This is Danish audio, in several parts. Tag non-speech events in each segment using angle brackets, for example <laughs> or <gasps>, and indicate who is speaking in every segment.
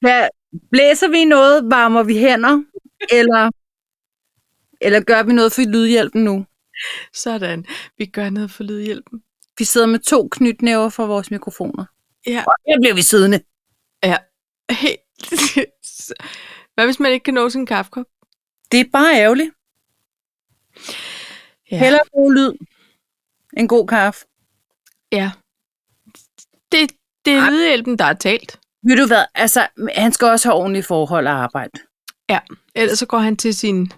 Speaker 1: Hvad, blæser vi i noget? Varmer vi hænder? Eller, eller gør vi noget for lydhjælpen nu?
Speaker 2: Sådan. Vi gør noget for lydhjælpen. <laughs>
Speaker 1: Vi sidder med to knytnæver for vores mikrofoner.
Speaker 2: Ja.
Speaker 1: Og her bliver vi siddende.
Speaker 2: Helt. Hvad hvis man ikke kan nå sin kaffekop?
Speaker 1: Det er bare ærgerligt. Ja. Heller god lyd. En god kaffe.
Speaker 2: ja. Det, det er lydhjælpen, der er talt.
Speaker 1: Ved du hvad? Altså, han skal også have ordentlige forhold og arbejde.
Speaker 2: Ellers så går han til sin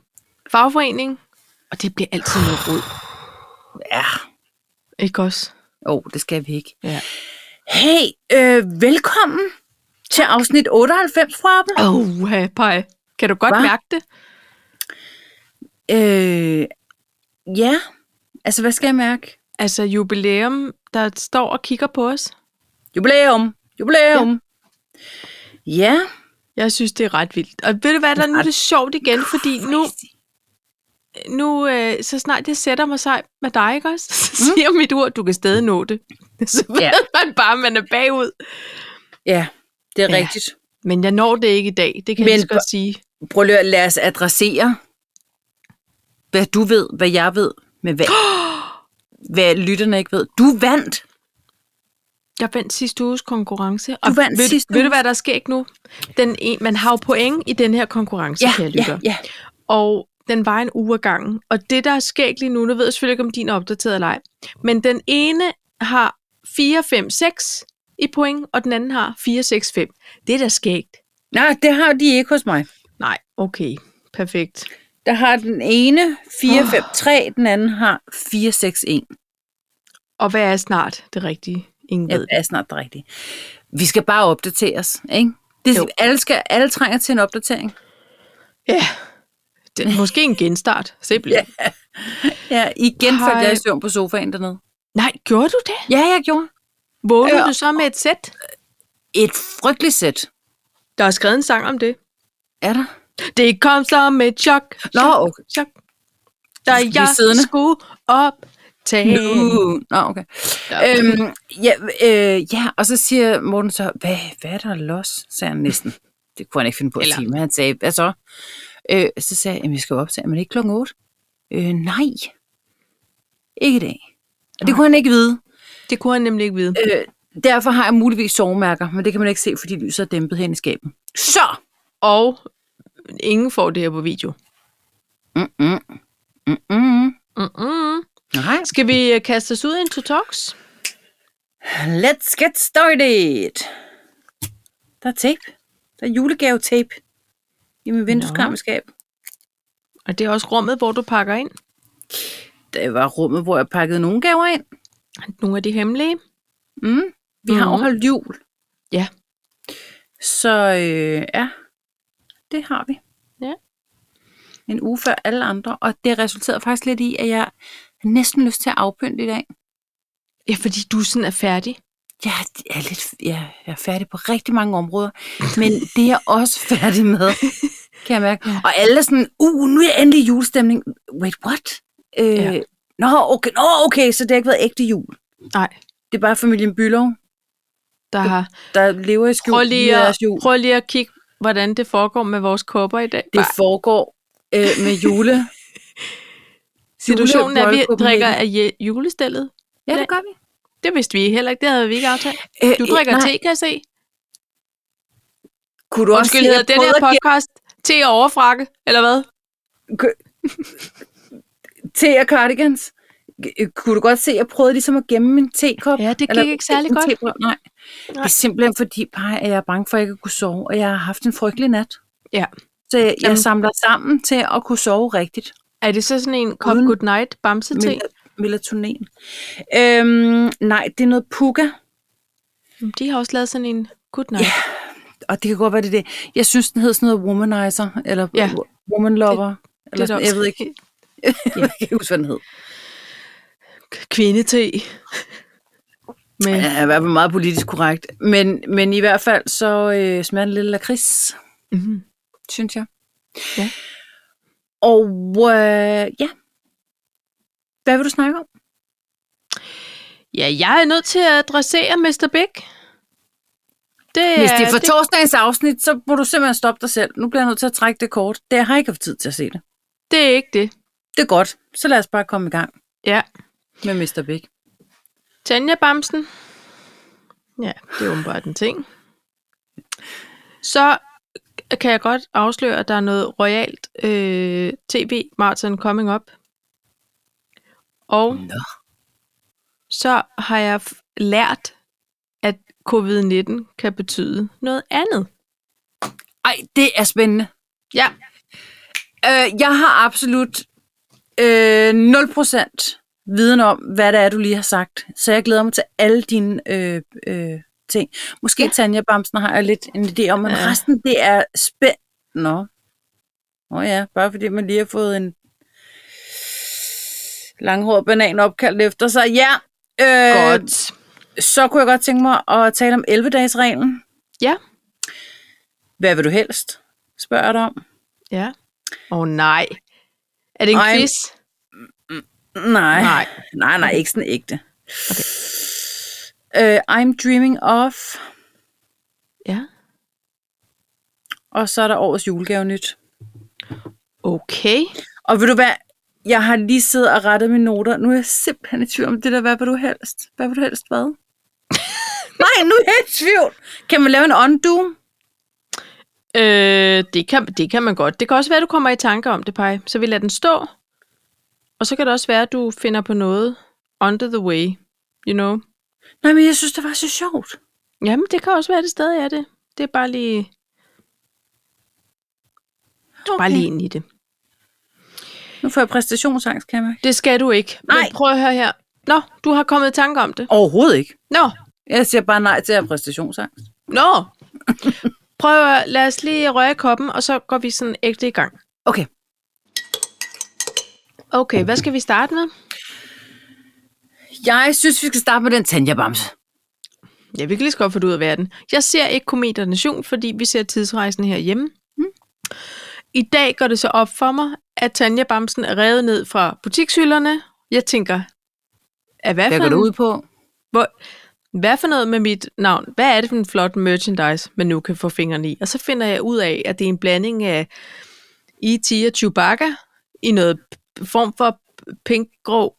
Speaker 2: fagforening, og det bliver altid noget rod.
Speaker 1: Ja.
Speaker 2: Ikke også?
Speaker 1: Åh, oh, det skal vi ikke.
Speaker 2: Ja.
Speaker 1: Hey, øh, velkommen til afsnit 98, fra Apple.
Speaker 2: Åh, oh, pej. Kan du godt
Speaker 1: Hva?
Speaker 2: mærke det?
Speaker 1: Øh, ja. Altså, hvad skal jeg mærke?
Speaker 2: Altså jubilæum, der står og kigger på os.
Speaker 1: Jubilæum. Jubilæum. Ja. ja.
Speaker 2: Jeg synes, det er ret vildt. Og ved du hvad, der er nu er det sjovt igen, fordi nu, nu øh, så snart jeg sætter mig sig med dig, ikke også? <laughs> Så siger mit ur, du kan stadig nå Mm. det. Så ved
Speaker 1: Ja.
Speaker 2: <laughs> man bare, at man er bagud.
Speaker 1: Ja, det er
Speaker 2: Ja.
Speaker 1: ja. rigtigt.
Speaker 2: Men jeg når det ikke i dag, det kan
Speaker 1: Men
Speaker 2: jeg lige så
Speaker 1: på-
Speaker 2: godt sige.
Speaker 1: Prøv lige at lade os adressere, hvad du ved, hvad jeg ved, men <gasps> hvad, hvad lytterne ikke ved. Du vandt.
Speaker 2: Jeg vandt sidste uges konkurrence. Og
Speaker 1: vandt
Speaker 2: ved,
Speaker 1: sidste
Speaker 2: ved du
Speaker 1: uges.
Speaker 2: hvad, der sker ikke nu? Den en, man har jo point i den her konkurrence, ja, kan jeg lytte.
Speaker 1: ja, ja.
Speaker 2: og den var en uge ad gangen. Og det, der er sket lige nu, nu ved jeg selvfølgelig ikke, om din er opdateret eller ej, men den ene har 4, 5, 6 i point, og den anden har 4, 6, 5. Det er da skægt.
Speaker 1: Nej, det har de ikke hos mig.
Speaker 2: Nej, okay. Perfekt.
Speaker 1: Der har den ene 4, <gasps>
Speaker 2: Åh.
Speaker 1: 5, 3, den anden har 4, 6, 1.
Speaker 2: Og hvad er snart det rigtige? Ingen
Speaker 1: Jeg
Speaker 2: ved
Speaker 1: ved,
Speaker 2: det.
Speaker 1: er snart det rigtige. Vi skal bare opdateres, ikke? Det,
Speaker 2: Jo.
Speaker 1: alle, skal, alle trænger til en opdatering.
Speaker 2: Ja. Det er måske en genstart, simpelthen. Ja.
Speaker 1: Ja, igen Hej. faldt
Speaker 2: Hej.
Speaker 1: jeg i søvn på sofaen dernede.
Speaker 2: Nej, gjorde du det?
Speaker 1: Ja, jeg gjorde.
Speaker 2: Vågnede
Speaker 1: Ja.
Speaker 2: du så med et sæt?
Speaker 1: Et frygteligt sæt.
Speaker 2: Der er skrevet en sang om det.
Speaker 1: Er der?
Speaker 2: Det kom som et chok.
Speaker 1: Nå,
Speaker 2: chok,
Speaker 1: okay.
Speaker 2: chok. Da
Speaker 1: skal blive
Speaker 2: jeg
Speaker 1: siddende.
Speaker 2: skulle optage.
Speaker 1: Uh, nå, okay.
Speaker 2: Øhm. Ja.
Speaker 1: Øhm, ja, øh, ja, og så siger Morten så, hvad, hvad er der los? sagde han
Speaker 2: <laughs>
Speaker 1: næsten. Det kunne han ikke finde på at
Speaker 2: Eller-
Speaker 1: sige, men han sagde, hvad så? Øh, så sagde jeg, "Jamen, vi skal jo optage, men det er ikke klokken 8. Øh, nej, ikke i dag. Og det kunne han ikke vide.
Speaker 2: Det kunne han nemlig ikke vide.
Speaker 1: Øh, derfor har jeg muligvis sovemærker, men det kan man ikke se, fordi lyset er dæmpet hen i skabet. Så!
Speaker 2: Og ingen får det her på video.
Speaker 1: Mm-mm. Mm-mm.
Speaker 2: Mm-mm.
Speaker 1: Nej.
Speaker 2: Skal vi øh, kaste os ud i en to talks?
Speaker 1: Let's get started. Der er tape. Der er julegave-tape i min vindueskarmskab.
Speaker 2: Og det er også rummet, hvor du pakker ind.
Speaker 1: Det var rummet, hvor jeg pakkede nogle gaver ind.
Speaker 2: Nogle af de hemmelige.
Speaker 1: Mm. Vi har
Speaker 2: Mhm.
Speaker 1: jo holdt jul.
Speaker 2: Ja.
Speaker 1: Så øh, ja, det har vi.
Speaker 2: Ja.
Speaker 1: En uge før alle andre. Og det resulterede faktisk lidt i, at jeg har næsten lyst til at afpynte i dag.
Speaker 2: Ja, fordi du sådan er færdig.
Speaker 1: Jeg er, lidt, jeg jeg er færdig på rigtig mange områder, men det er jeg også færdig
Speaker 2: <laughs>
Speaker 1: med, kan jeg mærke.
Speaker 2: Ja.
Speaker 1: Og alle er sådan, uh, nu er jeg endelig i julestemning. Wait, what? Øh,
Speaker 2: Ja.
Speaker 1: nå, okay, nå, okay, så det har ikke været ægte jul.
Speaker 2: Nej,
Speaker 1: Det er bare familien Bylov,
Speaker 2: der har...
Speaker 1: der lever i skjul.
Speaker 2: Prøv
Speaker 1: i
Speaker 2: lige, at,
Speaker 1: deres jul.
Speaker 2: prøv lige at kigge, hvordan det foregår med vores kopper i dag.
Speaker 1: Det foregår øh, med jule.
Speaker 2: <laughs> Situationen er, at vi
Speaker 1: juleboldkuppen
Speaker 2: drikker
Speaker 1: i-
Speaker 2: af je- julestillet.
Speaker 1: Ja, det gør vi.
Speaker 2: Det vidste vi heller ikke. Det havde vi ikke aftalt.
Speaker 1: Øh,
Speaker 2: Du
Speaker 1: øh,
Speaker 2: drikker
Speaker 1: nej,
Speaker 2: te, kan jeg se.
Speaker 1: Kunne du også
Speaker 2: Undskyld,
Speaker 1: se, at
Speaker 2: hedder den
Speaker 1: jeg
Speaker 2: her
Speaker 1: prøvede at
Speaker 2: podcast te og overfrakke, eller hvad?
Speaker 1: gemme- Te og cardigans. Øh, Kunne du godt se, at jeg prøvede ligesom at gemme min tekop?
Speaker 2: Ja, det
Speaker 1: Eller
Speaker 2: gik ikke særlig
Speaker 1: en
Speaker 2: godt.
Speaker 1: tebrød, Nej. Det er simpelthen fordi, Paj, at jeg er bange for, at jeg ikke kunne sove, og jeg har haft en frygtelig nat.
Speaker 2: Ja.
Speaker 1: Så jeg, jeg
Speaker 2: Jamen.
Speaker 1: samler sammen til at kunne sove rigtigt.
Speaker 2: Er det så sådan en kop
Speaker 1: Uden-
Speaker 2: good night bamse te?
Speaker 1: Mel- Melatonin. Øhm, nej, det er noget puka,
Speaker 2: Jamen, De har også lavet sådan en good night. Yeah.
Speaker 1: og det kan godt være, det er det. Jeg synes, den hed sådan noget womanizer, eller
Speaker 2: Ja.
Speaker 1: ja. woman lover. eller sådan, jeg ved ikke, <laughs> jeg kan ikke huske, hvad den hed.
Speaker 2: Kvindete. Men ja.
Speaker 1: Ja, i hvert fald meget politisk korrekt. Men, men i hvert fald, så øh, smager den lidt lakrids.
Speaker 2: mm,
Speaker 1: synes jeg.
Speaker 2: Ja.
Speaker 1: Og øh, ja. Hvad vil du snakke om?
Speaker 2: ja, jeg er nødt til at adressere Mr. Big. Det,
Speaker 1: Hvis det er
Speaker 2: er-
Speaker 1: for torsdagens afsnit, så må du simpelthen stoppe dig selv. Nu bliver jeg nødt til at trække det kort. Det jeg har ikke haft tid til at se det.
Speaker 2: det, det er ikke det.
Speaker 1: Det er godt. Så lad os bare komme i gang
Speaker 2: Ja.
Speaker 1: med Mr. Big.
Speaker 2: Tanja Bamsen. Ja, det er åbenbart en ting. Så kan jeg godt afsløre, at der er noget royalt øh, tv marathon coming up. Og
Speaker 1: Nå.
Speaker 2: så har jeg f- lært, at covid-19 kan betyde noget andet.
Speaker 1: Ej, det er spændende.
Speaker 2: Ja,
Speaker 1: Øh, jeg har absolut øh, 0% viden om, hvad det er, du lige har sagt. Så jeg glæder mig til alle dine øh, øh, ting. Måske ja. Tanja Bamsen har jeg lidt en idé om, men
Speaker 2: Ja.
Speaker 1: ja. resten det er spændende. Nå. Nå ja, bare fordi man lige har fået en langhåret banan opkaldt efter sig. Ja, øh,
Speaker 2: godt.
Speaker 1: så kunne jeg godt tænke mig at tale om 11-dages-reglen.
Speaker 2: Ja.
Speaker 1: Hvad vil du helst? spørger jeg dig om.
Speaker 2: Ja. Åh oh, nej. Er det en
Speaker 1: Ej,
Speaker 2: quiz?
Speaker 1: Nej.
Speaker 2: Nej.
Speaker 1: Nej, nej, ikke sådan ægte. Okay. Uh, I'm dreaming of,
Speaker 2: Ja.
Speaker 1: og så er der årets julegave nyt.
Speaker 2: Okay.
Speaker 1: Og ved du hvad, jeg har lige siddet og rettet mine noter. Nu er jeg simpelthen i tvivl om det der, hvad vil du helst? Hvad vil du helst hvad?
Speaker 2: <laughs>
Speaker 1: nej, nu er jeg i tvivl. Kan man lave en undo?
Speaker 2: Øh, det, kan, det kan man godt. Det kan også være, du kommer i tanker om det, Paj. Så vi lader den stå. Og så kan det også være, at du finder på noget under the way. You know?
Speaker 1: Nej, men jeg synes, det var så sjovt.
Speaker 2: Jamen, det kan også være, det stadig er det. Det er bare lige... Okay. Bare lige ind i det.
Speaker 1: Nu får jeg præstationsangst, kan jeg mærke.
Speaker 2: Det skal du ikke. Men
Speaker 1: Nej.
Speaker 2: prøv at høre her. Nå, du har kommet i tanker om det.
Speaker 1: Overhovedet ikke.
Speaker 2: Nå,
Speaker 1: Jeg siger bare nej til at have præstationsangst. <laughs>
Speaker 2: nå. Prøv at, lad os lige røre i koppen, og så går vi sådan ægte i gang.
Speaker 1: Okay,
Speaker 2: Okay, hvad skal vi starte med?
Speaker 1: jeg synes, vi skal starte med den Tanja Bamse.
Speaker 2: Ja, vi kan lige så godt få det ud af verden. Jeg ser ikke Kometernes Jul, fordi vi ser tidsrejsen herhjemme. Mm. I dag går det så op for mig, at Tanja Bamsen er revet ned fra butikshylderne. Jeg tænker, at hvad,
Speaker 1: Hvad
Speaker 2: for
Speaker 1: går det
Speaker 2: en-
Speaker 1: ud på?
Speaker 2: hvad for noget med mit navn? Hvad er det for en flot merchandise, man nu kan få fingrene i? Og så finder jeg ud af, at det er en blanding af E.T. og Chewbacca i noget p- form for pinkgrå,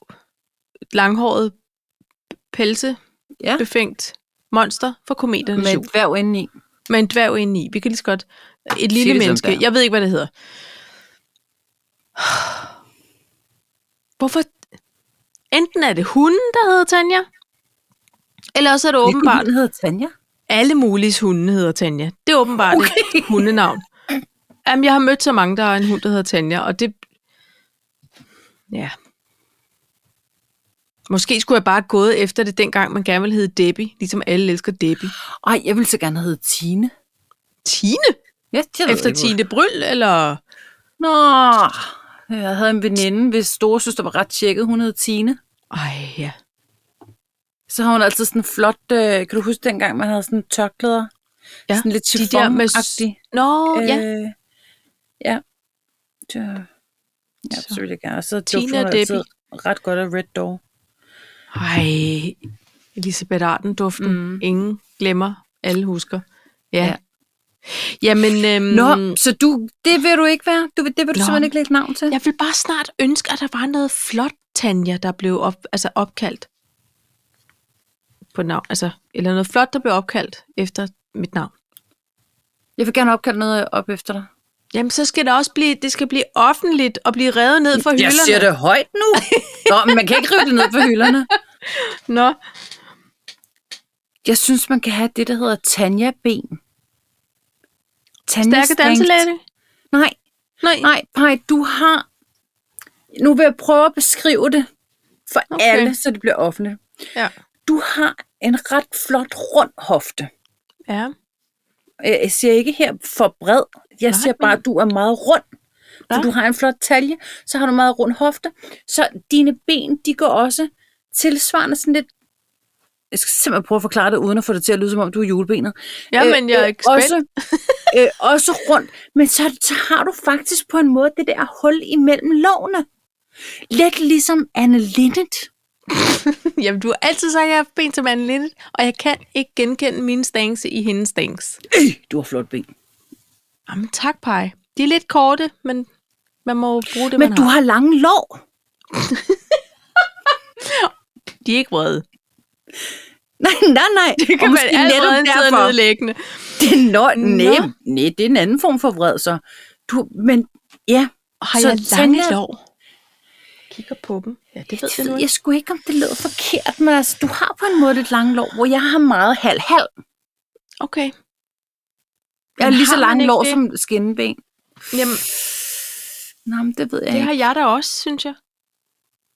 Speaker 2: langhåret,
Speaker 1: Ja.
Speaker 2: pelsebefængt monster for kometernes
Speaker 1: Med
Speaker 2: jul
Speaker 1: et værv indeni.
Speaker 2: med en dværg inde i. Vi kan lige så godt... Et lille
Speaker 1: det som
Speaker 2: menneske.
Speaker 1: det er.
Speaker 2: Jeg ved ikke, hvad det hedder. Hvorfor... Enten er det hunden, der hedder Tanja, eller også er det åbenbart
Speaker 1: Den hedder Tanja.
Speaker 2: alle mulige hunde hedder Tanja. Det er åbenbart okay. <laughs> et hundenavn. Jamen, jeg har mødt så mange, der har en hund, der hedder Tanja, og det... Ja. Måske skulle jeg bare have gået efter det, dengang man gerne ville hedde Debbie, ligesom alle elsker Debbie.
Speaker 1: Ej, jeg ville så gerne hedde Tine.
Speaker 2: Tine?
Speaker 1: Ja, jeg ved
Speaker 2: Efter
Speaker 1: ikke, hvor-
Speaker 2: Tine Bryl, eller...
Speaker 1: Nå, jeg havde en veninde, hvis storesøster var ret tjekket. Hun hed Tine.
Speaker 2: Ej, ja.
Speaker 1: Så har hun altid sådan en flot... Øh, kan du huske dengang, man havde sådan tørklæder?
Speaker 2: Ja,
Speaker 1: Sådan lidt
Speaker 2: De der med... s-
Speaker 1: chiffon-agtig.
Speaker 2: Nå, øh, ja.
Speaker 1: Øh, ja. Det var- Ja,
Speaker 2: Så.
Speaker 1: så ville jeg gerne. Og så
Speaker 2: Tina
Speaker 1: duftede hun
Speaker 2: og
Speaker 1: altid ret godt af Red Door.
Speaker 2: Ej, Elisabeth Arden-duften. Mm.
Speaker 1: Mm.
Speaker 2: Ingen glemmer, alle husker. Ja. ja.
Speaker 1: Ja.
Speaker 2: Jamen, øhm,
Speaker 1: Nå, så du, det vil du ikke være? Du, vil- det vil du Mm.
Speaker 2: Nå.
Speaker 1: Nå. simpelthen ikke lægge navn til?
Speaker 2: jeg vil bare snart ønske, at der var noget flot, Tanja, der blev op, altså opkaldt på navn. Altså, eller noget flot, der blev opkaldt efter mit navn.
Speaker 1: Jeg vil gerne opkalde noget op efter dig.
Speaker 2: Jamen, så skal det også blive, det skal blive offentligt og blive revet ned fra
Speaker 1: Jeg
Speaker 2: hylderne.
Speaker 1: siger det højt nu. <laughs> Nå, men man kan ikke rive det ned fra hylderne.
Speaker 2: Nå,
Speaker 1: Jeg synes, man kan have det, der hedder Tanja Ben. Tanja
Speaker 2: stærke danselæge.
Speaker 1: Nej,
Speaker 2: Nej,
Speaker 1: nej, Paj, du har... Nu vil jeg prøve at beskrive det for
Speaker 2: Okay.
Speaker 1: okay. alle, så det bliver offentligt.
Speaker 2: Ja.
Speaker 1: Du har en ret flot rund hofte.
Speaker 2: ja.
Speaker 1: Øh, Jeg siger ikke her for bred. Jeg
Speaker 2: Nej,
Speaker 1: siger bare,
Speaker 2: men-
Speaker 1: at du er meget rund.
Speaker 2: Ja.
Speaker 1: Så du har en flot talje, så har du meget rund hofte. Så dine ben, de går også tilsvarende sådan lidt... Jeg skal simpelthen prøve at forklare det, uden at få det til at lyde, som om du er julebenet. Øh,
Speaker 2: Ja, men jeg er ikke spændt. <laughs>
Speaker 1: Også, øh, også rundt. Men så, så har du faktisk på en måde det der hul imellem lårene. Lidt ligesom Anne Linnet.
Speaker 2: <laughs> Jamen, du har altid sagt, at jeg har haft ben som Anne Linnet, og jeg kan ikke genkende mine stance i hendes stance.
Speaker 1: Øh, du har flot ben.
Speaker 2: Jamen, tak, Paj. De er lidt korte, men man må jo bruge det,
Speaker 1: Men
Speaker 2: man
Speaker 1: du
Speaker 2: har.
Speaker 1: har lange lår. <laughs>
Speaker 2: De er ikke vrede.
Speaker 1: Nej, nej, nej.
Speaker 2: Det kan
Speaker 1: Og
Speaker 2: man
Speaker 1: måske netop
Speaker 2: allerede sidde
Speaker 1: derfor.
Speaker 2: nedlæggende.
Speaker 1: Det er nå, nej,
Speaker 2: Nå.
Speaker 1: nej, det er en anden form for vred, så. Du, men ja,
Speaker 2: Har
Speaker 1: Så
Speaker 2: jeg lange
Speaker 1: tænker jeg-
Speaker 2: lår? Kigger på dem. Ja, det ved
Speaker 1: det
Speaker 2: jeg nu
Speaker 1: ved
Speaker 2: ikke.
Speaker 1: jeg sgu ikke, om det lød forkert, men altså, du har på en måde et langt lår, hvor jeg har meget halv-halv.
Speaker 2: Okay.
Speaker 1: Jeg har
Speaker 2: Men
Speaker 1: lige så
Speaker 2: har man
Speaker 1: lange
Speaker 2: ikke
Speaker 1: lår
Speaker 2: det?
Speaker 1: som skinneben.
Speaker 2: Jamen,
Speaker 1: Nå, men det ved jeg
Speaker 2: det
Speaker 1: ikke.
Speaker 2: har jeg da også, synes jeg.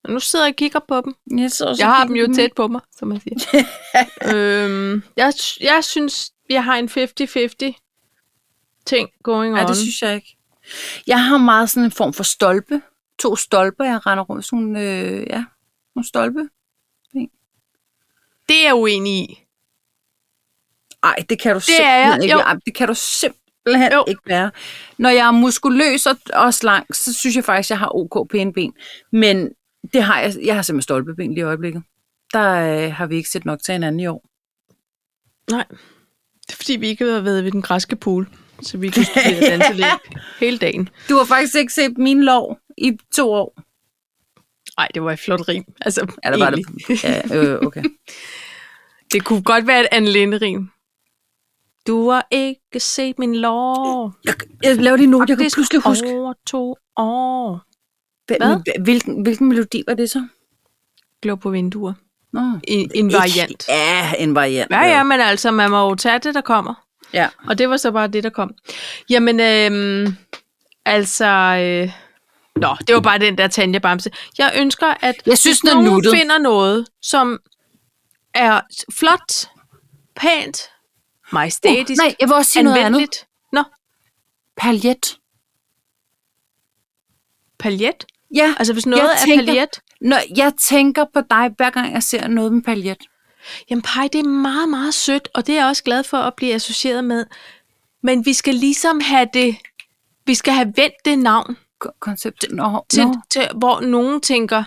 Speaker 2: Og nu sidder jeg og kigger på dem.
Speaker 1: Jeg, så også
Speaker 2: Jeg har
Speaker 1: kigger på
Speaker 2: dem jo tæt på mig, som
Speaker 1: <laughs>
Speaker 2: man siger. øhm, jeg, jeg synes, jeg har en 50-50 ting going on.
Speaker 1: Ja, det synes jeg ikke. Jeg har meget sådan en form for stolpe. To stolper, jeg render rundt. Sådan, nogle, øh, ja, nogle stolpe.
Speaker 2: det er jeg uenig i.
Speaker 1: Ej, det kan du det
Speaker 2: er jeg.
Speaker 1: simpelthen ikke
Speaker 2: Jo.
Speaker 1: være. Det kan du simpelthen
Speaker 2: Jo.
Speaker 1: jo. ikke være. Når jeg er muskuløs og, og slank, så synes jeg faktisk, jeg har ok pæne ben. Men det har jeg, jeg har simpelthen stolpeben lige i øjeblikket. Der øh, har vi ikke set nok til hinanden i år.
Speaker 2: Nej, det er fordi, vi ikke har været ved den græske pool, så vi kan <laughs> studere danse lidt hele dagen.
Speaker 1: Du har faktisk ikke set min lov i to år.
Speaker 2: Nej, det var et flot rim. Altså,
Speaker 1: Ja, der var det. Ja, øh, okay.
Speaker 2: <laughs> det kunne godt være et Anne Linde rim. Du har ikke set min lår.
Speaker 1: Jeg, jeg laver lige nu, jeg kan
Speaker 2: Faktisk
Speaker 1: pludselig huske.
Speaker 2: Over to år.
Speaker 1: Hvad? Hvilken, hvilken melodi var det så?
Speaker 2: Glå på vinduer.
Speaker 1: Nå.
Speaker 2: En, en
Speaker 1: Ikke-
Speaker 2: variant.
Speaker 1: Ja, en variant.
Speaker 2: Ja, ja, men altså, man må jo tage det, der kommer.
Speaker 1: ja.
Speaker 2: Og det var så bare det, der kom. Jamen, øhm, altså... Øh, nå, det var bare den der Tanja Bamse. Jeg ønsker, at
Speaker 1: Jeg synes, den
Speaker 2: hvis
Speaker 1: er
Speaker 2: nogen
Speaker 1: nuttet.
Speaker 2: finder noget, som er flot, pænt, majestætisk,
Speaker 1: Oh, Nej, jeg vil også sige noget andet.
Speaker 2: anvendeligt. Nå,
Speaker 1: Paljet.
Speaker 2: paljet.
Speaker 1: Ja,
Speaker 2: Altså, hvis noget er
Speaker 1: tænker-
Speaker 2: paljet.
Speaker 1: Nå, jeg tænker på dig, hver gang jeg ser noget med paljet.
Speaker 2: Jamen, pej, det er meget, meget sødt, og det er jeg også glad for at blive associeret med. Men vi skal ligesom have det... Vi skal have vendt det navn.
Speaker 1: Ko- Koncept. Nå,
Speaker 2: til,
Speaker 1: nå.
Speaker 2: til, hvor nogen tænker,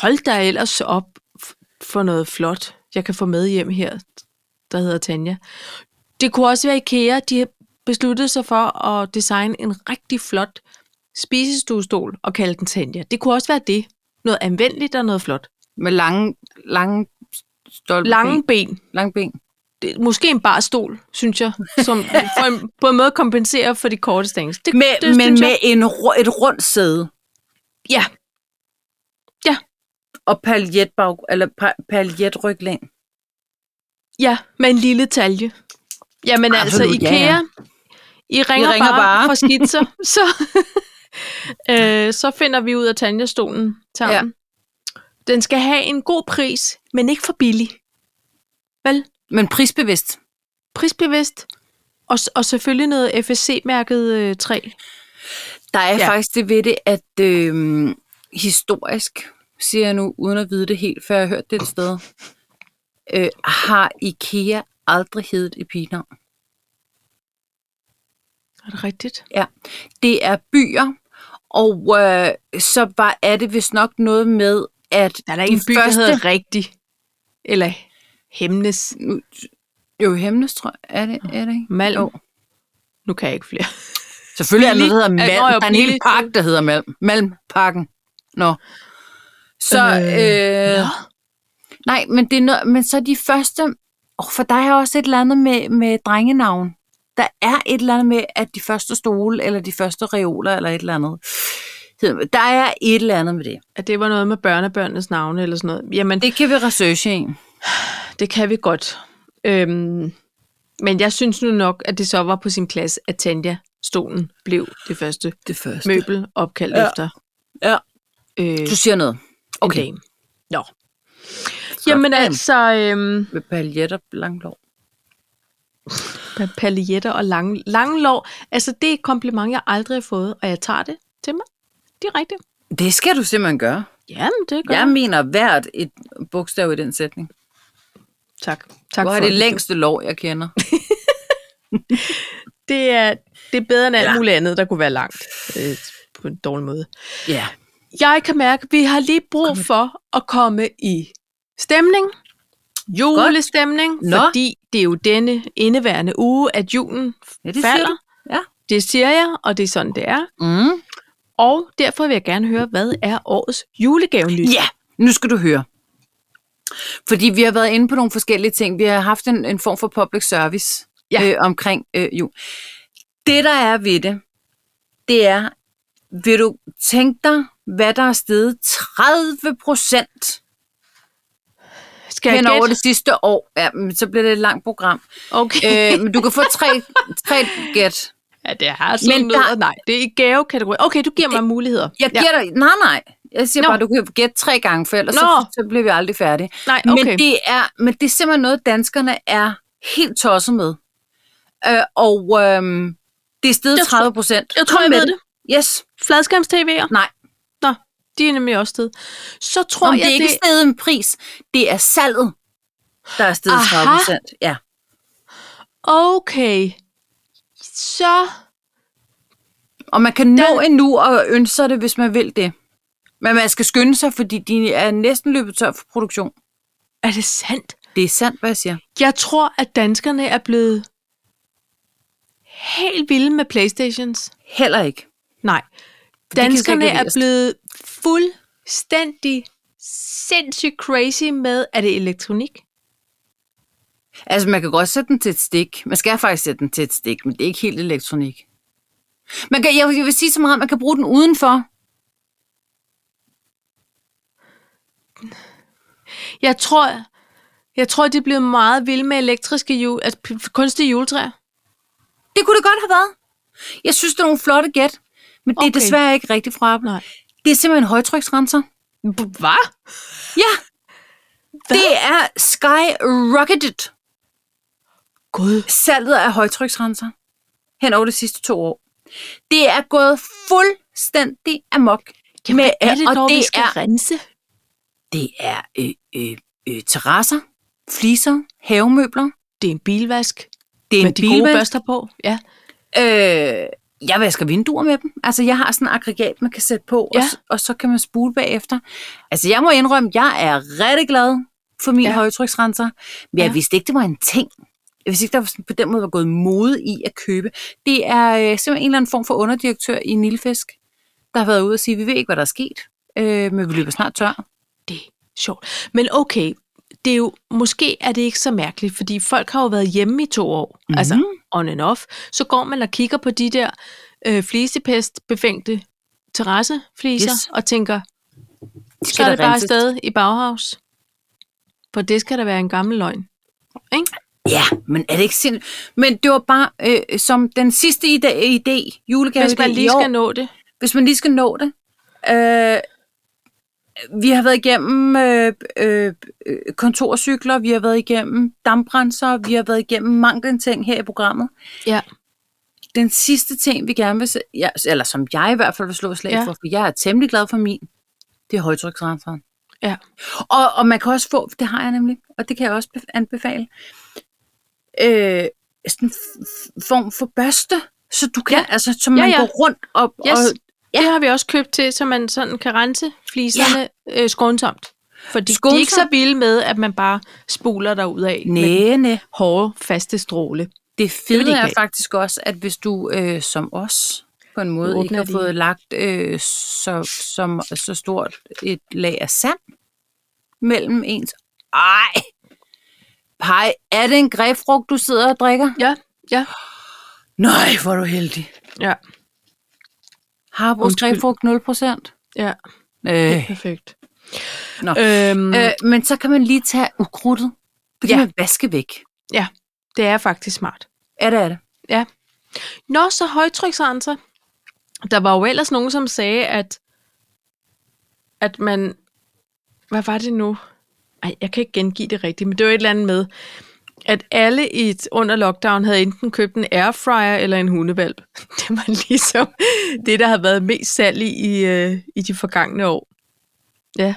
Speaker 2: hold da ellers op f- for noget flot, jeg kan få med hjem her, der hedder Tanja. Det kunne også være IKEA, de besluttede sig for at designe en rigtig flot spisestuestol og kalde den Tanja. Det kunne også være det. Noget anvendeligt og noget flot.
Speaker 1: Med lange, lange stolpe
Speaker 2: Lange
Speaker 1: Ben.
Speaker 2: ben.
Speaker 1: Lange ben.
Speaker 2: Det, måske en barstol, synes jeg,
Speaker 1: <laughs>
Speaker 2: som for en, på en måde kompenserer for de korte stængs. Det,
Speaker 1: Med,
Speaker 2: det,
Speaker 1: men
Speaker 2: synes
Speaker 1: med
Speaker 2: jeg.
Speaker 1: en, ru- et rundt sæde
Speaker 2: Ja,
Speaker 1: og paljetbag, eller pa, paljetryglæn.
Speaker 2: Ja, med en lille talje. Jamen Absolut, altså,
Speaker 1: Absolut, ja,
Speaker 2: IKEA, ja, ja.
Speaker 1: ja.
Speaker 2: I ringer,
Speaker 1: ringer
Speaker 2: bare,
Speaker 1: bare.
Speaker 2: bare for skitser, <laughs> så, øh, så finder vi ud af Tanja-stolen sammen. Ja. Den skal have en god pris, men ikke for billig. Vel?
Speaker 1: Men prisbevidst.
Speaker 2: Prisbevidst. Og, s- og selvfølgelig noget FSC-mærket øh, træ.
Speaker 1: Der er
Speaker 2: Ja.
Speaker 1: ja. faktisk det ved det, at øh, historisk, siger jeg nu, uden at vide det helt, før jeg har hørt det et sted, øh, har IKEA aldrig heddet et pigenavn.
Speaker 2: Er det rigtigt?
Speaker 1: Ja, det er byer, og øh, så var, er det vist nok noget med, at
Speaker 2: Der er da ikke en by, første... der hedder Rigtig. Eller Hemnes.
Speaker 1: Nu, jo, Hemnes, tror jeg. Er det, er det ikke?
Speaker 2: Malm.
Speaker 1: Jo.
Speaker 2: Nu kan jeg ikke flere.
Speaker 1: Selvfølgelig
Speaker 2: Billig-
Speaker 1: er der noget, der
Speaker 2: Ja,
Speaker 1: hedder Malm.
Speaker 2: nå, ja,
Speaker 1: Der er en hel
Speaker 2: billig-
Speaker 1: park, der hedder Malm. Malmparken. Nå. Så, øh,
Speaker 2: Nå.
Speaker 1: øh, nej, men, det er noget, men så de første... Oh, for der er også et eller andet med, med drengenavn. Der er et eller andet med, at de første stole, eller de første reoler, eller et eller andet. hedder- Der er et eller andet med det.
Speaker 2: At det var noget med børnebørnenes navne eller sådan noget. Jamen,
Speaker 1: Det kan vi researche i.
Speaker 2: Det kan vi godt. Øhm, men jeg synes nu nok, at det så var på sin plads, at Tanja-stolen blev det første
Speaker 1: Det første.
Speaker 2: møbel opkaldt ja.
Speaker 1: Ja.
Speaker 2: efter.
Speaker 1: Ja.
Speaker 2: Øh,
Speaker 1: Du siger noget.
Speaker 2: okay.
Speaker 1: Okay.
Speaker 2: En dame. Nå. Jamen altså, øhm,
Speaker 1: Med paljetter langt lov.
Speaker 2: pa- paljetter og lange, lange lår. Altså, det er et kompliment, jeg aldrig har fået, og jeg tager det til mig. Direkte.
Speaker 1: Det skal du simpelthen gøre.
Speaker 2: Jamen, det gør
Speaker 1: Jeg
Speaker 2: jeg.
Speaker 1: mener hvert et bogstav i den sætning.
Speaker 2: Tak. Tak
Speaker 1: Hvor
Speaker 2: for
Speaker 1: er det længste lov, jeg kender?
Speaker 2: Det er, det er bedre end alt
Speaker 1: Ja.
Speaker 2: muligt andet, der kunne være langt øh, på en dårlig måde.
Speaker 1: <laughs> Ja.
Speaker 2: jeg kan mærke, at vi har lige brug
Speaker 1: Kom i-
Speaker 2: for at komme i stemning. Julestemning,
Speaker 1: Nå.
Speaker 2: fordi det er jo denne indeværende uge, at julen
Speaker 1: Ja,
Speaker 2: det
Speaker 1: siger
Speaker 2: falder.
Speaker 1: du. Ja.
Speaker 2: Det siger jeg, og det er sådan, det er.
Speaker 1: Mm.
Speaker 2: Og derfor vil jeg gerne høre, hvad er årets julegave nyt?
Speaker 1: Ja, nu skal du høre. Fordi vi har været inde på nogle forskellige ting. Vi har haft en, en form for public service
Speaker 2: Ja.
Speaker 1: øh, omkring øh, jul. Det, der er ved det, det er, vil du tænke dig, hvad der er steget 30 procent
Speaker 2: Skal jeg
Speaker 1: hen over
Speaker 2: gætte?
Speaker 1: det sidste år? Ja, men så bliver det et langt program.
Speaker 2: Okay.
Speaker 1: <laughs> øh, men du kan få tre, tre gæt.
Speaker 2: Ja, det har sådan
Speaker 1: Men
Speaker 2: noget.
Speaker 1: der-
Speaker 2: Nej, det er i gavekategori. Okay, du giver mig muligheder.
Speaker 1: Jeg giver ja. dig... Nej, nej. Jeg siger
Speaker 2: Nå.
Speaker 1: Nå. bare, du kan gætte tre gange, for ellers
Speaker 2: Nå.
Speaker 1: så, så bliver vi aldrig færdige.
Speaker 2: Nej,
Speaker 1: Men,
Speaker 2: okay.
Speaker 1: det er, men det er simpelthen noget, danskerne er helt tosset med. Øh, og øh, det er steget
Speaker 2: Jeg tror-
Speaker 1: 30 procent.
Speaker 2: jeg tror, jeg ved
Speaker 1: Yes.
Speaker 2: Fladskærms-tv'er?
Speaker 1: Nej.
Speaker 2: Nå, de er nemlig også sted. Så tror
Speaker 1: Nå, men
Speaker 2: jeg,
Speaker 1: det er ikke
Speaker 2: det...
Speaker 1: steget en pris. Det er salget, der er steget
Speaker 2: Aha.
Speaker 1: 30 procent. Ja.
Speaker 2: Okay. Så...
Speaker 1: Og man kan nå endnu og ønske sig det, hvis man vil det. Men man skal skynde sig, fordi de er næsten løbet tør for produktion.
Speaker 2: Er det sandt?
Speaker 1: Det er sandt, hvad jeg siger.
Speaker 2: Jeg tror, at danskerne er blevet helt vilde med Playstations.
Speaker 1: Heller ikke.
Speaker 2: Nej.
Speaker 1: kan jeg
Speaker 2: Danskerne
Speaker 1: slet ikke
Speaker 2: er
Speaker 1: læse.
Speaker 2: blevet fuldstændig sindssygt crazy med, er det elektronik?
Speaker 1: Altså, man kan godt sætte den til et stik. Man skal faktisk sætte den til et stik, men det er ikke helt elektronik. Man kan, jeg, jeg vil sige så meget, man kan bruge den udenfor.
Speaker 2: Jeg tror, jeg tror, de er blevet meget vilde med elektriske jul, altså p- kunstige juletræer.
Speaker 1: Det kunne det godt have været. Jeg synes, det er nogle flotte gæt, men det okay. er
Speaker 2: Okay.
Speaker 1: desværre ikke rigtigt fra Apple.
Speaker 2: Nej.
Speaker 1: Det er simpelthen højtryksrenser.
Speaker 2: Hvad?
Speaker 1: Ja, det er skyrocketed.
Speaker 2: Gud.
Speaker 1: Salget af højtryksrenser hen over de sidste to år. Det er gået fuldstændig amok.
Speaker 2: Jamen,
Speaker 1: med,
Speaker 2: er det,
Speaker 1: og
Speaker 2: når
Speaker 1: det
Speaker 2: vi skal
Speaker 1: er
Speaker 2: rense?
Speaker 1: Det er øh, øh, øh, terrasser, fliser, havemøbler.
Speaker 2: Det er en bilvask.
Speaker 1: Det er
Speaker 2: med
Speaker 1: en
Speaker 2: de gode
Speaker 1: bilvask.
Speaker 2: børster på. Ja.
Speaker 1: Øh, jeg vasker vinduer med dem. Altså, jeg har sådan et aggregat, man kan sætte på, ja.
Speaker 2: Ja.
Speaker 1: og, s- og så kan man spule bagefter. Altså, jeg må indrømme, jeg er rigtig glad for min
Speaker 2: Ja.
Speaker 1: ja. højtryksrenser. Men jeg
Speaker 2: Ja.
Speaker 1: vidste ikke, det var en ting. Jeg vidste ikke, der var sådan, på den måde var gået mode i at købe. Det er øh, simpelthen en eller anden form for underdirektør i Nilfisk, der har været ude og sige, vi ved ikke, hvad der er sket, øh, men vi løber snart tør.
Speaker 2: Det er sjovt. Men okay, det er jo, måske er det ikke så mærkeligt, fordi folk har jo været hjemme i to år, mm-hmm. altså on and off. Så går man og kigger på de der øh, flisepest-befængte terrassefliser
Speaker 1: Yes.
Speaker 2: yes. og tænker,
Speaker 1: De
Speaker 2: så er det bare
Speaker 1: renses.
Speaker 2: afsted i baghavs. For det skal da være en gammel løgn. Ikke?
Speaker 1: Ja, men er det ikke sindssygt? Men det var bare øh, som den sidste ide- idé, julegave
Speaker 2: Hvis man lige skal nå det.
Speaker 1: hvis man lige skal nå det. Øh, vi har været igennem øh, øh, øh, kontorcykler, vi har været igennem damprenser, vi har været igennem mange en ting her i programmet.
Speaker 2: Ja.
Speaker 1: Den sidste ting, vi gerne vil se, ja, eller som jeg i hvert fald vil slå et slag
Speaker 2: Ja.
Speaker 1: ja. for, for jeg er temmelig glad for min, det er højtryksrenseren.
Speaker 2: Ja.
Speaker 1: Og, og man kan også få, det har jeg nemlig, og det kan jeg også bef- anbefale, øh, sådan en f- f- form for børste, så du kan,
Speaker 2: Ja.
Speaker 1: ja. altså, så man
Speaker 2: Ja,
Speaker 1: ja,
Speaker 2: ja.
Speaker 1: ja. går rundt og,
Speaker 2: Yes.
Speaker 1: og
Speaker 2: Ja. Det har vi også købt til, så man sådan kan rense fliserne ja. øh, skånsomt. Fordi skånsomt. de er ikke så
Speaker 1: Skånsomt.
Speaker 2: vilde med, at man bare spoler derudad med den
Speaker 1: Næh, næh.
Speaker 2: hårde, faste stråle.
Speaker 1: Det
Speaker 2: vil de
Speaker 1: fede
Speaker 2: ikke
Speaker 1: er
Speaker 2: have.
Speaker 1: faktisk også, at hvis du øh, som os på en måde
Speaker 2: åbner
Speaker 1: ikke har
Speaker 2: de.
Speaker 1: fået lagt øh, så, som, så stort et lag af sand mellem ens... Ej! Pej, er det en grebfrugt, du sidder og drikker?
Speaker 2: Ja, ja,
Speaker 1: Nej, hvor er du heldig.
Speaker 2: ja,
Speaker 1: Harbos
Speaker 2: Undskyld.
Speaker 1: grebfrugt 0%.
Speaker 2: ja.
Speaker 1: Øh.
Speaker 2: Perfekt.
Speaker 1: Nå.
Speaker 2: Øhm, øh.
Speaker 1: Øh, men så kan man lige tage ukrudtet. Det kan
Speaker 2: Ja.
Speaker 1: ja. man vaske væk.
Speaker 2: Ja, det er faktisk smart.
Speaker 1: Er det, er det?
Speaker 2: Nå, så højtryksrenser. Der var jo ellers nogen, som sagde, at, at man... Hvad var det nu? Ej, jeg kan ikke gengive det rigtigt, men det var et eller andet med, at alle i et, under lockdown havde enten købt en airfryer eller en hundevalp. <laughs> Det var ligesom det, der havde været mest salg i, i, øh, i de forgangne år. Ja,